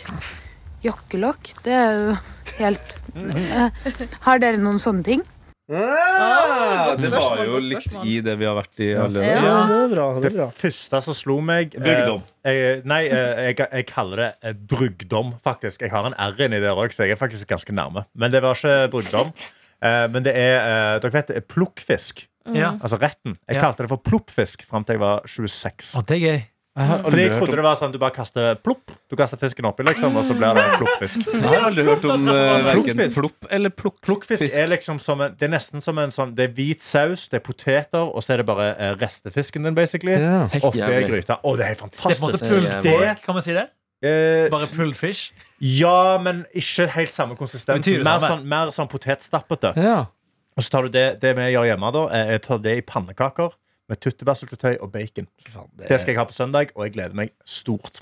Speaker 8: Jokkelokk? Det er jo helt Eh, Har dere noen sånne ting?
Speaker 3: Ah,
Speaker 2: Det var jo litt i det vi har vært i allerede.
Speaker 3: Ja.
Speaker 2: det er bra.
Speaker 5: Det første som slo meg eh,
Speaker 2: Brugdom.
Speaker 5: jeg, nei, eh, jeg, jeg kaller det eh, brugdom, faktisk. Jeg har en R inni der òg, så jeg er faktisk ganske nærme. Men det var ikke brugdom. Eh, Men det er eh, dere vet, det er plukkfisk.
Speaker 6: Ja.
Speaker 5: Altså retten. Jeg
Speaker 6: Ja.
Speaker 5: kalte det for ploppfisk fram til jeg var 26.
Speaker 6: Å, det er gøy.
Speaker 5: Fordi jeg trodde det var sånn du bare kaster plopp. Du kaster fisken oppi, liksom, og så blir det ploppfisk.
Speaker 2: Jeg har aldri hørt om uh, verken
Speaker 5: Plukkfisk.
Speaker 2: plopp eller plukk.
Speaker 5: Plukkfisk
Speaker 2: Fisk.
Speaker 5: er liksom som en, Det er nesten som en sånn Det er hvit saus, det er poteter, og så er det bare eh, restefisken din, basically.
Speaker 2: Ja.
Speaker 4: Helt
Speaker 5: Oppi ei
Speaker 4: jævlig.
Speaker 5: gryte. Å, det er helt
Speaker 6: Det er på en måte
Speaker 5: fantastisk.
Speaker 6: pulled
Speaker 4: Det-
Speaker 6: pork, kan man si det?
Speaker 5: Eh,
Speaker 6: Bare pulled fish?
Speaker 5: Ja, men ikke helt samme konsistens.
Speaker 6: Betyr det
Speaker 5: Mer
Speaker 6: samme?
Speaker 5: sånn, mer sånn potetstappete.
Speaker 2: Ja.
Speaker 5: Og så tar du det, det vi gjør hjemme, da. eh, Jeg tar det i pannekaker med tyttebærsyltetøy og bacon. Det skal jeg ha på søndag, og jeg gleder meg stort.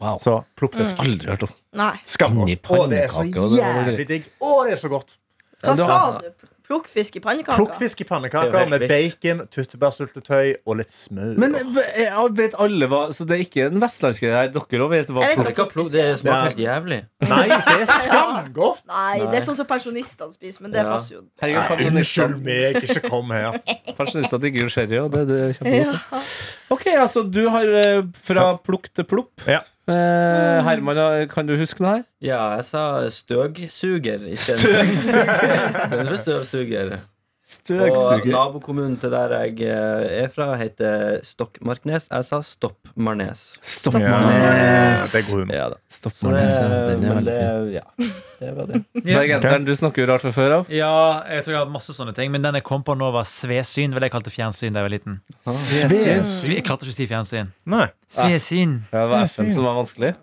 Speaker 2: Wow.
Speaker 5: Så plukkfisk.
Speaker 2: Aldri hørt om.
Speaker 3: Nei.
Speaker 5: Skam.
Speaker 2: Inn i
Speaker 5: Å, det er så
Speaker 2: pannekaker, og det var
Speaker 5: jævlig digg. Å, det er så godt.
Speaker 3: Hva
Speaker 2: du
Speaker 3: sa
Speaker 2: har-
Speaker 3: du? Plukkfisk i pannekaker?
Speaker 5: Plukkfisk i
Speaker 4: Det er
Speaker 5: pannekaker
Speaker 4: jo
Speaker 5: med
Speaker 4: helt
Speaker 5: bacon, tyttebærsyltetøy og litt smør.
Speaker 2: Men eh, jeg vet alle hva Så det er ikke en vestlandsgreie her? Dere òg vet hva
Speaker 3: Jeg vet
Speaker 2: plukk
Speaker 3: ikke.
Speaker 4: Ikke applaus, Det smaker helt jævlig.
Speaker 5: Nei, det er skamgodt!
Speaker 3: Nei, det er sånn som pensjonistene spiser, men det
Speaker 4: Ja.
Speaker 3: passer jo.
Speaker 2: Herregud,
Speaker 5: Unnskyld
Speaker 2: pensjonister-
Speaker 5: meg, ikke kom her.
Speaker 2: pensjonister digger jo sherry, og det, det er kjempegodt. Ok, altså du har eh, fra plukk til plopp.
Speaker 5: Ja.
Speaker 2: Eh, Herman, eh, kan du huske noe her?
Speaker 4: Ja, jeg sa støgsuger istedenfor støvsuger. Og
Speaker 2: Støvsuger.
Speaker 4: nabokommunen til der jeg eh, er fra, heter Stokmarknes. Jeg sa Stoppmarnes.
Speaker 2: Stopp
Speaker 5: Ja, det er god humor.
Speaker 4: Ja da.
Speaker 2: Stopp
Speaker 4: Så det,
Speaker 2: den er
Speaker 4: men
Speaker 2: veldig
Speaker 4: det,
Speaker 2: fin.
Speaker 4: ja, det var det.
Speaker 2: Bergenseren, du snakker jo rart fra før av.
Speaker 6: Ja, jeg tror jeg har hatt masse sånne ting. Men den jeg kom på nå, var svesyn. Vel, jeg kalte fjernsyn da jeg var liten.
Speaker 2: Svesyn.
Speaker 6: Sve, jeg klarte ikke å si fjernsyn.
Speaker 5: Nei.
Speaker 6: Ah. Svesyn.
Speaker 2: Ja, Det var FN som var vanskelig.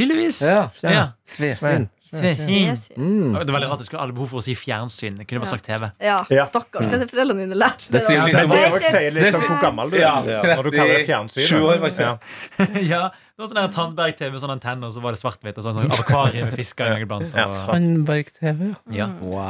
Speaker 6: Tydeligvis.
Speaker 2: Ja, ja.
Speaker 6: ja.
Speaker 2: Svesyn.
Speaker 6: Svesyn.
Speaker 3: Yes.
Speaker 2: Mm.
Speaker 6: Det var veldig rart at jeg skulle ha alle behov for å si fjernsyn. Jeg kunne bare sagt TV.
Speaker 3: Ja,
Speaker 5: Ja.
Speaker 3: stakkars. Hva er det foreldrene dine lærte?
Speaker 2: Det sier
Speaker 3: da?
Speaker 2: litt om-
Speaker 5: Det
Speaker 3: er
Speaker 5: også
Speaker 3: ikke-
Speaker 5: sier litt om hvor gammel du er.
Speaker 2: Ja,
Speaker 5: Når du kaller det fjernsyn.
Speaker 2: 37 år, faktisk.
Speaker 5: ja.
Speaker 6: ja, det var sånn der Tandberg-TV med sånn antenne, og så var det svart-hvitt og sånn, sånn akvarium med fisker en gang iblant.
Speaker 5: Ja.
Speaker 6: Og,
Speaker 2: Tandberg-TV.
Speaker 6: ja.
Speaker 2: Wow.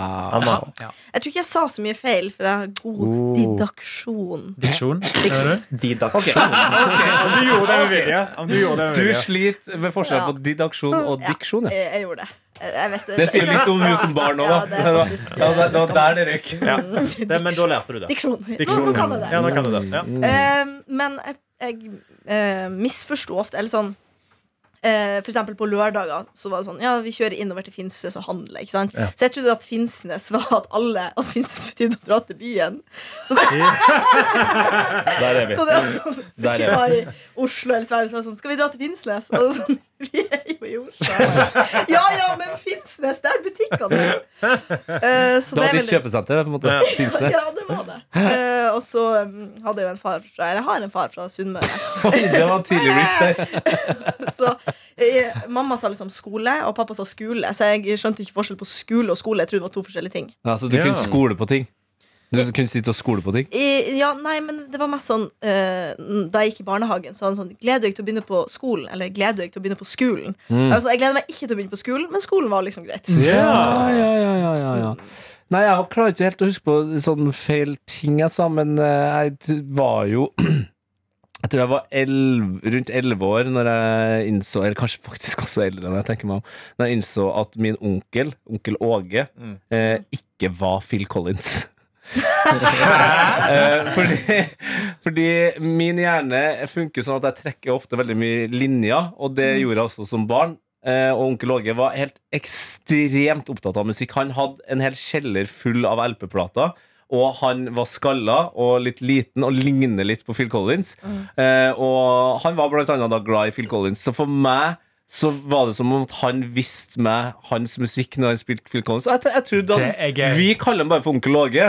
Speaker 6: Ja, ja.
Speaker 3: Jeg tror ikke jeg sa så mye feil, for jeg har
Speaker 2: Oh.
Speaker 3: god didaksjon.
Speaker 6: Diksjon. hører du?
Speaker 5: Om du gjorde det med vilje. Om du gjorde det med
Speaker 2: Du
Speaker 5: vilje.
Speaker 2: sliter med forskjell på didaksjon og diksjon. ja.
Speaker 3: Jeg, jeg gjorde det. Jeg, jeg visste,
Speaker 2: Det sier litt om hun som barn òg, da.
Speaker 3: Ja, det er faktisk,
Speaker 2: Ja, det- det var der det røyk.
Speaker 5: Ja. Det, men da lærte du det.
Speaker 3: Diksjon. Nå,
Speaker 5: Diksjon.
Speaker 3: nå kan jeg det.
Speaker 5: Ja, nå
Speaker 3: Ehm,
Speaker 5: kan du det. Ja.
Speaker 3: Eh, men jeg, jeg eh, misforsto ofte, eller sånn eh, for eksempel på lørdager så var det sånn Ja, vi kjører innover til Finnsnes og handler. Ikke sant? Så jeg trodde at Finnsnes var at alle At Finnsnes betydde å dra til byen. Så det,
Speaker 2: Der er vi.
Speaker 3: så det var sånn
Speaker 2: Der er
Speaker 3: Hvis vi var i Oslo eller Sverige, så var det sånn Skal vi dra til Finnsnes? Og det var sånn Vi er jo i Oslo. Ja ja, men Finnsnes, der butikkene er. Eh, så
Speaker 2: Det var
Speaker 3: det er
Speaker 2: ditt
Speaker 3: veldig
Speaker 2: kjøpesenter, på en måte. Finnsnes.
Speaker 3: ja, det var det. Eh, og så um, hadde jeg jo en far fra Eller jeg har en far fra Sunnmøre.
Speaker 2: Det var tidlig blitt det.
Speaker 3: Så jeg, mamma sa liksom skole, og pappa sa skole. Så jeg skjønte ikke forskjell på skole og skole. Jeg trodde det var to forskjellige ting.
Speaker 2: Ja, så du
Speaker 5: Ja.
Speaker 2: kunne skole på ting. Du kunne sitte og skole på ting.
Speaker 3: I, ja, nei, men det var mest sånn eh, Da jeg gikk i barnehagen, så var det sånn Gleder du deg til å begynne på skolen? Eller gleder du deg til å begynne på skolen? Jeg, var sånn, jeg gleder meg ikke til å begynne på skolen, men skolen var liksom greit.
Speaker 2: Mm. Ja, ja, ja, ja, ja, ja. Nei, jeg klarer ikke helt å huske på sånn feil ting jeg sa, men eh, jeg t- var jo Jeg tror jeg var 11 rundt elleve år når jeg innså Eller kanskje faktisk også eldre enn jeg tenker meg om. Når jeg innså at min onkel, onkel Åge, eh, ikke var Phil Collins. Eh, fordi, fordi min hjerne funker sånn at jeg trekker ofte veldig mye linjer, og
Speaker 6: Mm.
Speaker 2: det gjorde jeg også som barn. Eh, og onkel Åge var helt ekstremt opptatt av musikk. Han hadde en hel kjeller full av LP-plater. Og han var skalla og litt liten og ligner litt på Phil Collins.
Speaker 6: Mm.
Speaker 2: Eh, og han var blant annet da glad i Phil Collins. Så for meg så var det som om at han visste meg hans musikk når han spilte Phil Collins. Og Jeg, t- jeg trodde
Speaker 6: Det er
Speaker 2: han,
Speaker 6: gøy.
Speaker 2: Vi kaller han bare for onkel Åge,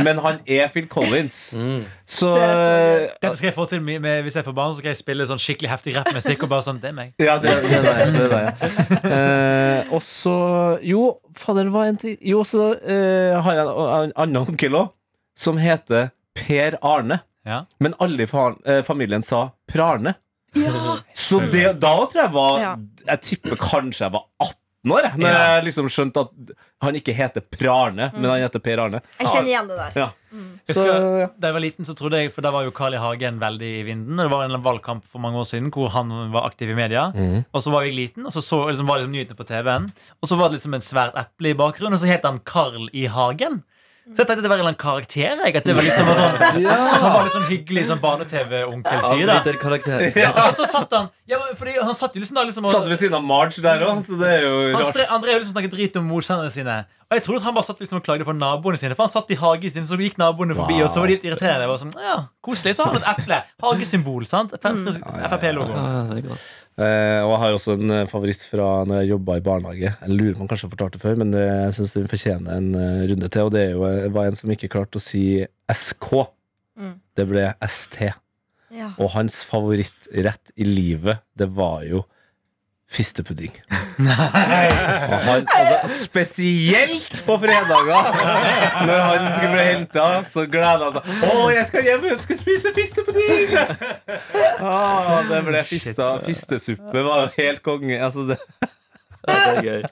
Speaker 2: men han er Phil Collins.
Speaker 6: Mm.
Speaker 2: Så
Speaker 3: Det er
Speaker 6: Dette skal jeg få til med, med, Hvis jeg får barn, så skal jeg spille sånn skikkelig heftig rappmusikk. Og bare sånn, det er meg
Speaker 2: Ja, det, det er deg. Det er deg. Eh, og så Jo, fader, det var en ting Jo, så eh, har jeg en, en annen onkel òg, som heter Per Arne.
Speaker 6: Ja.
Speaker 2: Men alle i fa eh, familien sa Prarne.
Speaker 3: Ja,
Speaker 2: Så det, da tror jeg var
Speaker 3: Ja.
Speaker 2: Jeg tipper kanskje jeg var 18 år, jeg, når
Speaker 6: Ja.
Speaker 2: jeg liksom skjønte at han ikke heter Prarne, men han heter Per Arne.
Speaker 3: Mm. jeg kjenner igjen det der.
Speaker 2: Ja.
Speaker 6: Husker, jeg- Da jeg var liten, så trodde jeg For da var jo Carl I. Hagen veldig i vinden. Og det var en valgkamp for mange år siden hvor han var aktiv i media. Og så var jeg liten, og så, så liksom, var liksom nyhetene på TV-en. Og så var det liksom en svært eple i bakgrunnen, og så het han Carl I. Hagen. Så jeg tenkte at det var en eller annen karakter. Jeg, at det var liksom en sånn, at Han var litt sånn hyggelig sånn barne-TV-onkelfyr. da.
Speaker 4: Avbryter karakter.
Speaker 6: Ja, og så satt han ja, men fordi Han satt jo liksom da liksom og-
Speaker 2: Satt ved siden av Marge der òg, så det er jo
Speaker 6: han
Speaker 2: rart.
Speaker 6: stre- han drev liksom snakket drit om motstanderne sine. Og jeg trodde at han bare satt liksom og klagde på naboene sine. For han satt i hagen sin, så gikk naboene forbi, og så var de litt irriterende. Jeg var sånn, ja, koselig, så har han et eple. Hagesymbol, sant? Frp-logo.
Speaker 4: Ja, det er godt.
Speaker 2: Eh, og jeg har også en eh, favoritt fra når jeg jobba i barnehage. Jeg lurer på om jeg kanskje har fortalt det før, men eh, jeg syns den fortjener en eh, runde til. Og det er jo, eh, var en som ikke klarte å si SK.
Speaker 3: Mm.
Speaker 2: Det ble ST.
Speaker 3: Ja.
Speaker 2: Og hans favorittrett i livet, det var jo fistepudding. Og han, altså, spesielt på fredager, når han skulle bli henta, så gleda han seg. 'Å, jeg skal hjem og jeg skal spise fistepudding!' Ah, det ble fista. Fistesuppe var jo helt konge. Altså, det,
Speaker 4: Ja, det er gøy.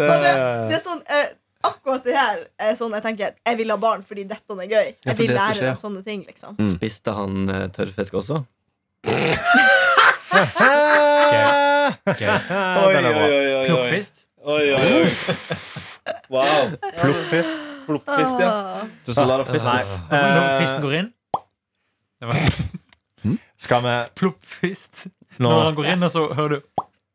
Speaker 3: Men det, det er sånn eh, Akkurat det her er sånn jeg tenker Jeg vil ha barn fordi dette er gøy.
Speaker 2: Ja,
Speaker 3: Jeg
Speaker 2: for
Speaker 3: vil
Speaker 2: det skal skje, Mm.
Speaker 3: lære
Speaker 2: ja.
Speaker 3: om sånne ting, liksom.
Speaker 4: Spiste han eh, tørrfisk også?
Speaker 2: oi, oi, oi, oi, oi.
Speaker 6: Plukkfist.
Speaker 2: oi, oi, oi. Wow. Plukkfist. Plukkfist, ja.
Speaker 3: Ah.
Speaker 2: Just a lot of
Speaker 5: Nei.
Speaker 2: fistes.
Speaker 6: Når fisten går inn.
Speaker 2: Hmm?
Speaker 5: Skal vi
Speaker 6: Pluppfist.
Speaker 5: nå
Speaker 6: Når han går inn, og så hører du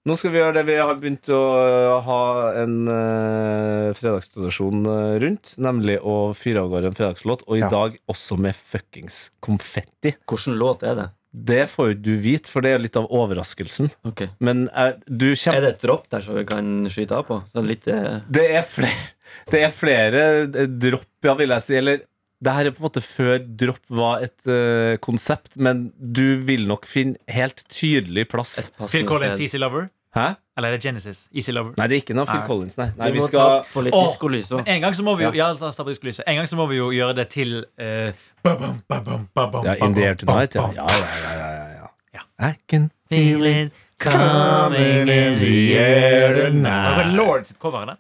Speaker 2: Nå skal vi gjøre det vi har begynt å øh, ha en uh, fredagstradisjon øh, rundt, nemlig å fyre av gårde en fredagslåt, og i
Speaker 5: Ja.
Speaker 2: dag også med fuckings konfetti.
Speaker 4: Hvilken låt er det?
Speaker 2: Det får jo du vite, for det er jo litt av overraskelsen.
Speaker 4: Ok.
Speaker 2: Men eh, du
Speaker 4: Er
Speaker 2: kommer
Speaker 4: det et dropp der som vi kan skyte av på? Sånn litt eh,
Speaker 2: Det er flere, det er flere eh, dropp, ja, vil jeg si. Eller det her er på en måte før dropp var et eh, konsept, men du vil nok finne helt tydelig plass.
Speaker 4: et passende
Speaker 6: Phil Collins,
Speaker 4: sted.
Speaker 6: Easy Lover.
Speaker 2: Hæ?
Speaker 6: Eller er det Genesis? Easy Lover.
Speaker 2: Nei, det er ikke noe Phil
Speaker 6: Nei.
Speaker 2: Collins, nei. nei
Speaker 4: Vi
Speaker 2: vi
Speaker 4: må
Speaker 2: skal
Speaker 4: ta på litt
Speaker 6: Åh,
Speaker 4: diskolys òg.
Speaker 6: En gang så må vi jo ja, la oss ta på diskolyset. En gang så må vi jo gjøre det til eh, ba-bam, ba-bam, ba-bam,
Speaker 2: Ja, In the air
Speaker 6: ba-bam,
Speaker 2: tonight, ja.
Speaker 6: ba-bam.
Speaker 2: Ja, ja, ja, ja, ja, ja.
Speaker 6: Ja.
Speaker 2: I can
Speaker 6: Feel it coming in the air tonight. Det var Lord sitt cover, det.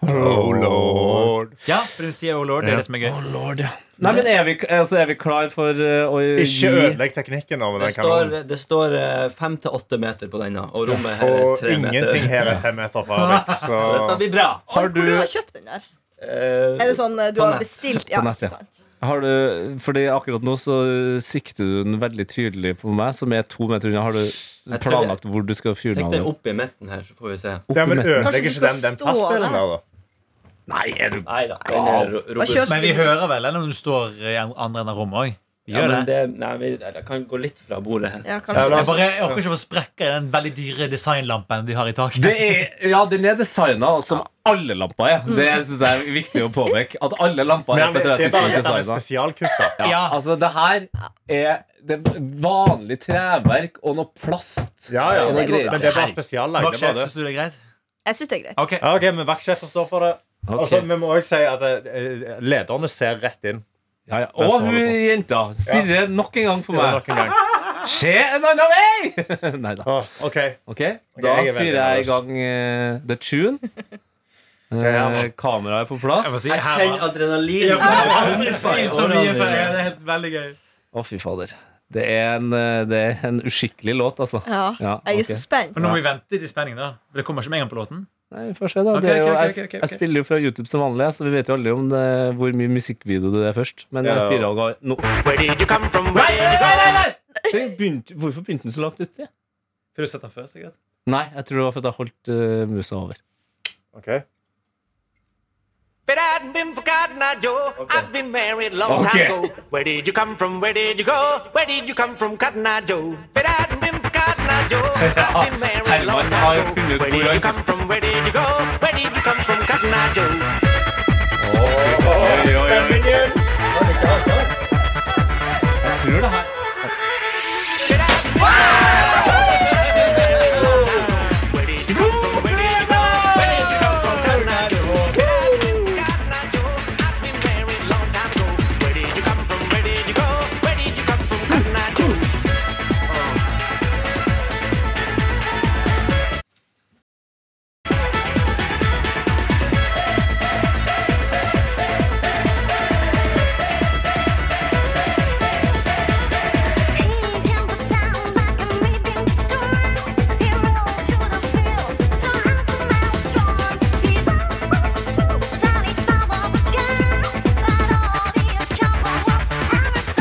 Speaker 2: Oh lord.
Speaker 6: Ja, for hun sier Oh Lord. Det er det som er gøy.
Speaker 2: Nei, men er vi, altså, er vi klar for eh, å
Speaker 5: Ikke
Speaker 2: gi-
Speaker 5: ødelegg teknikken. nå med
Speaker 4: Det
Speaker 5: den
Speaker 4: står,
Speaker 5: kanonen.
Speaker 4: det står eh, fem til åtte meter på denne, og rommet her er
Speaker 5: Og
Speaker 4: eh, tre meter.
Speaker 5: ingenting her er fem meter fra deg. Så
Speaker 4: Så dette blir bra.
Speaker 3: Oi, Hvor du har kjøpt den der?
Speaker 4: Eh,
Speaker 3: Er det sånn eh, du
Speaker 4: På
Speaker 3: har
Speaker 4: nett.
Speaker 3: bestilt? Ja,
Speaker 2: På nett, ja.
Speaker 3: ikke sant.
Speaker 2: Har du, fordi akkurat nå så eh, sikter du den veldig tydelig på meg, som er to meter unna. Har du
Speaker 4: Jeg tror-
Speaker 2: planlagt hvor du skal fyre
Speaker 4: Tenk
Speaker 2: den?
Speaker 4: deg
Speaker 2: av?
Speaker 4: opp i midten her, så får vi se.
Speaker 5: Ja, men
Speaker 3: Kanskje du
Speaker 5: ødelegger ikke
Speaker 3: skal
Speaker 5: den, den
Speaker 3: stå
Speaker 5: passdelen
Speaker 3: der?
Speaker 5: der, da?
Speaker 2: Nei, er du
Speaker 4: Nei da. Den er ro-
Speaker 3: Da
Speaker 4: robust.
Speaker 3: kjøper
Speaker 6: Men vi hører vel eller, når du står i en- andre enden av rommet òg. Vi
Speaker 4: Ja,
Speaker 6: gjør
Speaker 4: men
Speaker 6: det.
Speaker 4: det, nei, vi, jeg kan gå litt fra bordet her.
Speaker 3: Ja, kanskje.
Speaker 5: la
Speaker 6: Jeg,
Speaker 5: oss-
Speaker 6: bare, jeg orker ikke å få sprekker i den veldig dyre designlampen de har i taket.
Speaker 2: Det er, ja, den er designa som alle lamper er. Det synes jeg er viktig å påpeke. At alle lamper er
Speaker 5: Men
Speaker 2: på et eller
Speaker 5: det er
Speaker 2: annet
Speaker 5: bare
Speaker 2: tidspunkt
Speaker 5: dette med
Speaker 2: designa.
Speaker 5: spesialkutta.
Speaker 2: Ja,
Speaker 6: Ja.
Speaker 2: Altså, det her er det er vanlig treverk og noe plast.
Speaker 5: Ja, ja.
Speaker 2: Og noe
Speaker 5: Men det
Speaker 2: greier.
Speaker 5: er bare
Speaker 2: Hei.
Speaker 5: spesiallagd.
Speaker 6: Bak
Speaker 5: det er bare
Speaker 6: sjef,
Speaker 5: det.
Speaker 6: forsto du det greit?
Speaker 3: Jeg syns det er greit.
Speaker 6: Ok,
Speaker 5: Ja, ok, men vaktsjefen står for det.
Speaker 2: Ok.
Speaker 5: Og så vi må også si at eh, lederne ser rett inn.
Speaker 2: ja, ja. Og hun jenta stirrer nok en gang på meg.
Speaker 5: Nok en gang.
Speaker 2: Se en annen vei! Nei da.
Speaker 5: Åh, ok.
Speaker 2: Ok, Da
Speaker 5: jeg er veldig
Speaker 2: fyrer jeg i
Speaker 5: nervøs.
Speaker 2: gang eh, the tune.
Speaker 5: Ja,
Speaker 2: Eh, kameraet er på plass.
Speaker 6: jeg må si
Speaker 4: Jeg
Speaker 6: her
Speaker 4: kjenner
Speaker 6: var-
Speaker 4: adrenalin.
Speaker 6: Jeg har aldri sett så mye før. Ja, Det er helt veldig gøy.
Speaker 2: Å, fy fader. Det er en, eh, det er en uskikkelig låt, altså.
Speaker 3: Ja.
Speaker 2: Ja, ok.
Speaker 3: Jeg er så spent.
Speaker 6: Men nå må vi vente litt i spenning, da. Det kommer ikke med en gang på låten.
Speaker 2: Nei, vi får se, da.
Speaker 6: Ok,
Speaker 2: det er jo,
Speaker 6: ok, ok,
Speaker 2: jeg,
Speaker 6: ok, ok,
Speaker 2: jeg
Speaker 6: ok.
Speaker 2: spiller jo fra YouTube som vanlig, så vi vet jo aldri om det, hvor mye musikkvideo det er først. Men jeg
Speaker 5: Ja.
Speaker 2: fyrer av nå. Nei, nei, nei, nei, nei! Den begynte- Hvorfor begynte den så langt uti?
Speaker 6: Får du sett den først, sikkert?
Speaker 2: Nei, jeg tror det var fordi jeg holdt eh, musa over.
Speaker 5: Ok.
Speaker 9: But I've been forgotten, I Joe. I've been married long
Speaker 2: Okay.
Speaker 9: time ago. Where did you come from? Where did you go? Where did you come from, Cotton Eye Joe? But I've been forgotten, I Joe. I've been married long
Speaker 2: Herman har
Speaker 9: time
Speaker 2: funnet
Speaker 9: ago.
Speaker 2: ut
Speaker 9: Where
Speaker 2: hvor
Speaker 9: did
Speaker 2: han
Speaker 9: you come from? Where did you go? Where did you come from, Cotton Eye Joe? Where did you come from?
Speaker 2: Jeg tror det her
Speaker 9: Where did you go? Where did you come from, Cotton Eye Joe? Cotton Eye Joe. I've been married long time ago. Where did you come from? Where did you go? Where did you come from, Cotton Eye Joe?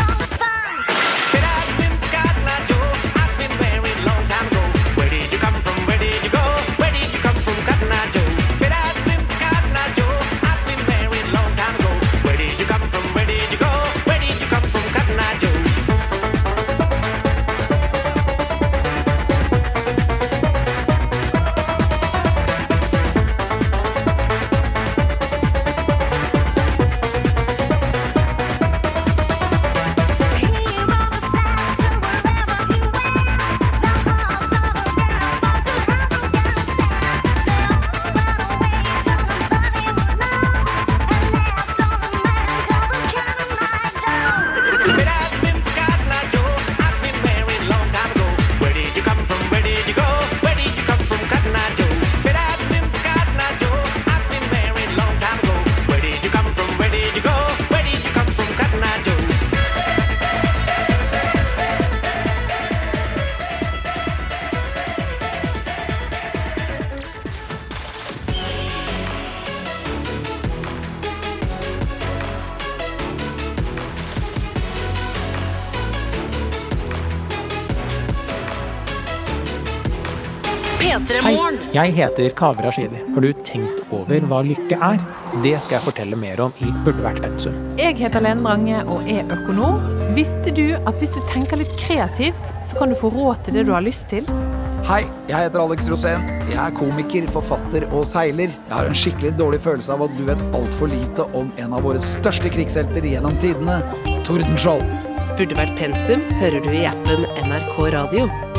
Speaker 9: But I've been forgotten, I do. I've been married long time ago. Where did you come from? Where did you go? Where did you come from, Cotton Eye Joe? But I've been forgotten, I do. I've been married long time ago. Where did you come from? Where did you go? Where did you come from, Cotton Eye Joe? But I've been forgotten, I do. I've been married long time ago. Where did you come from? Where did you go? Where did you come from, Cotton Eye Joe? But I've been forgotten, I do. I've been married long time ago. Where did you come from? Where did you go? Where did you come from, Cotton Eye Joe?
Speaker 10: P3 Morgen.
Speaker 11: Jeg heter Kaveh Rashidi. Har du tenkt over hva lykke er? Det skal jeg fortelle mer om i Burde vært pensum.
Speaker 10: Jeg heter Lene Drange og er økonom. Visste du at hvis du tenker litt kreativt, så kan du få råd til det du har lyst til?
Speaker 11: Hei, jeg heter Alex Rosén. Jeg er komiker, forfatter og seiler. Jeg har en skikkelig dårlig følelse av at du vet altfor lite om en av våre største krigshelter gjennom tidene, Tordenskjold.
Speaker 10: Burde vært pensum hører du i appen NRK Radio.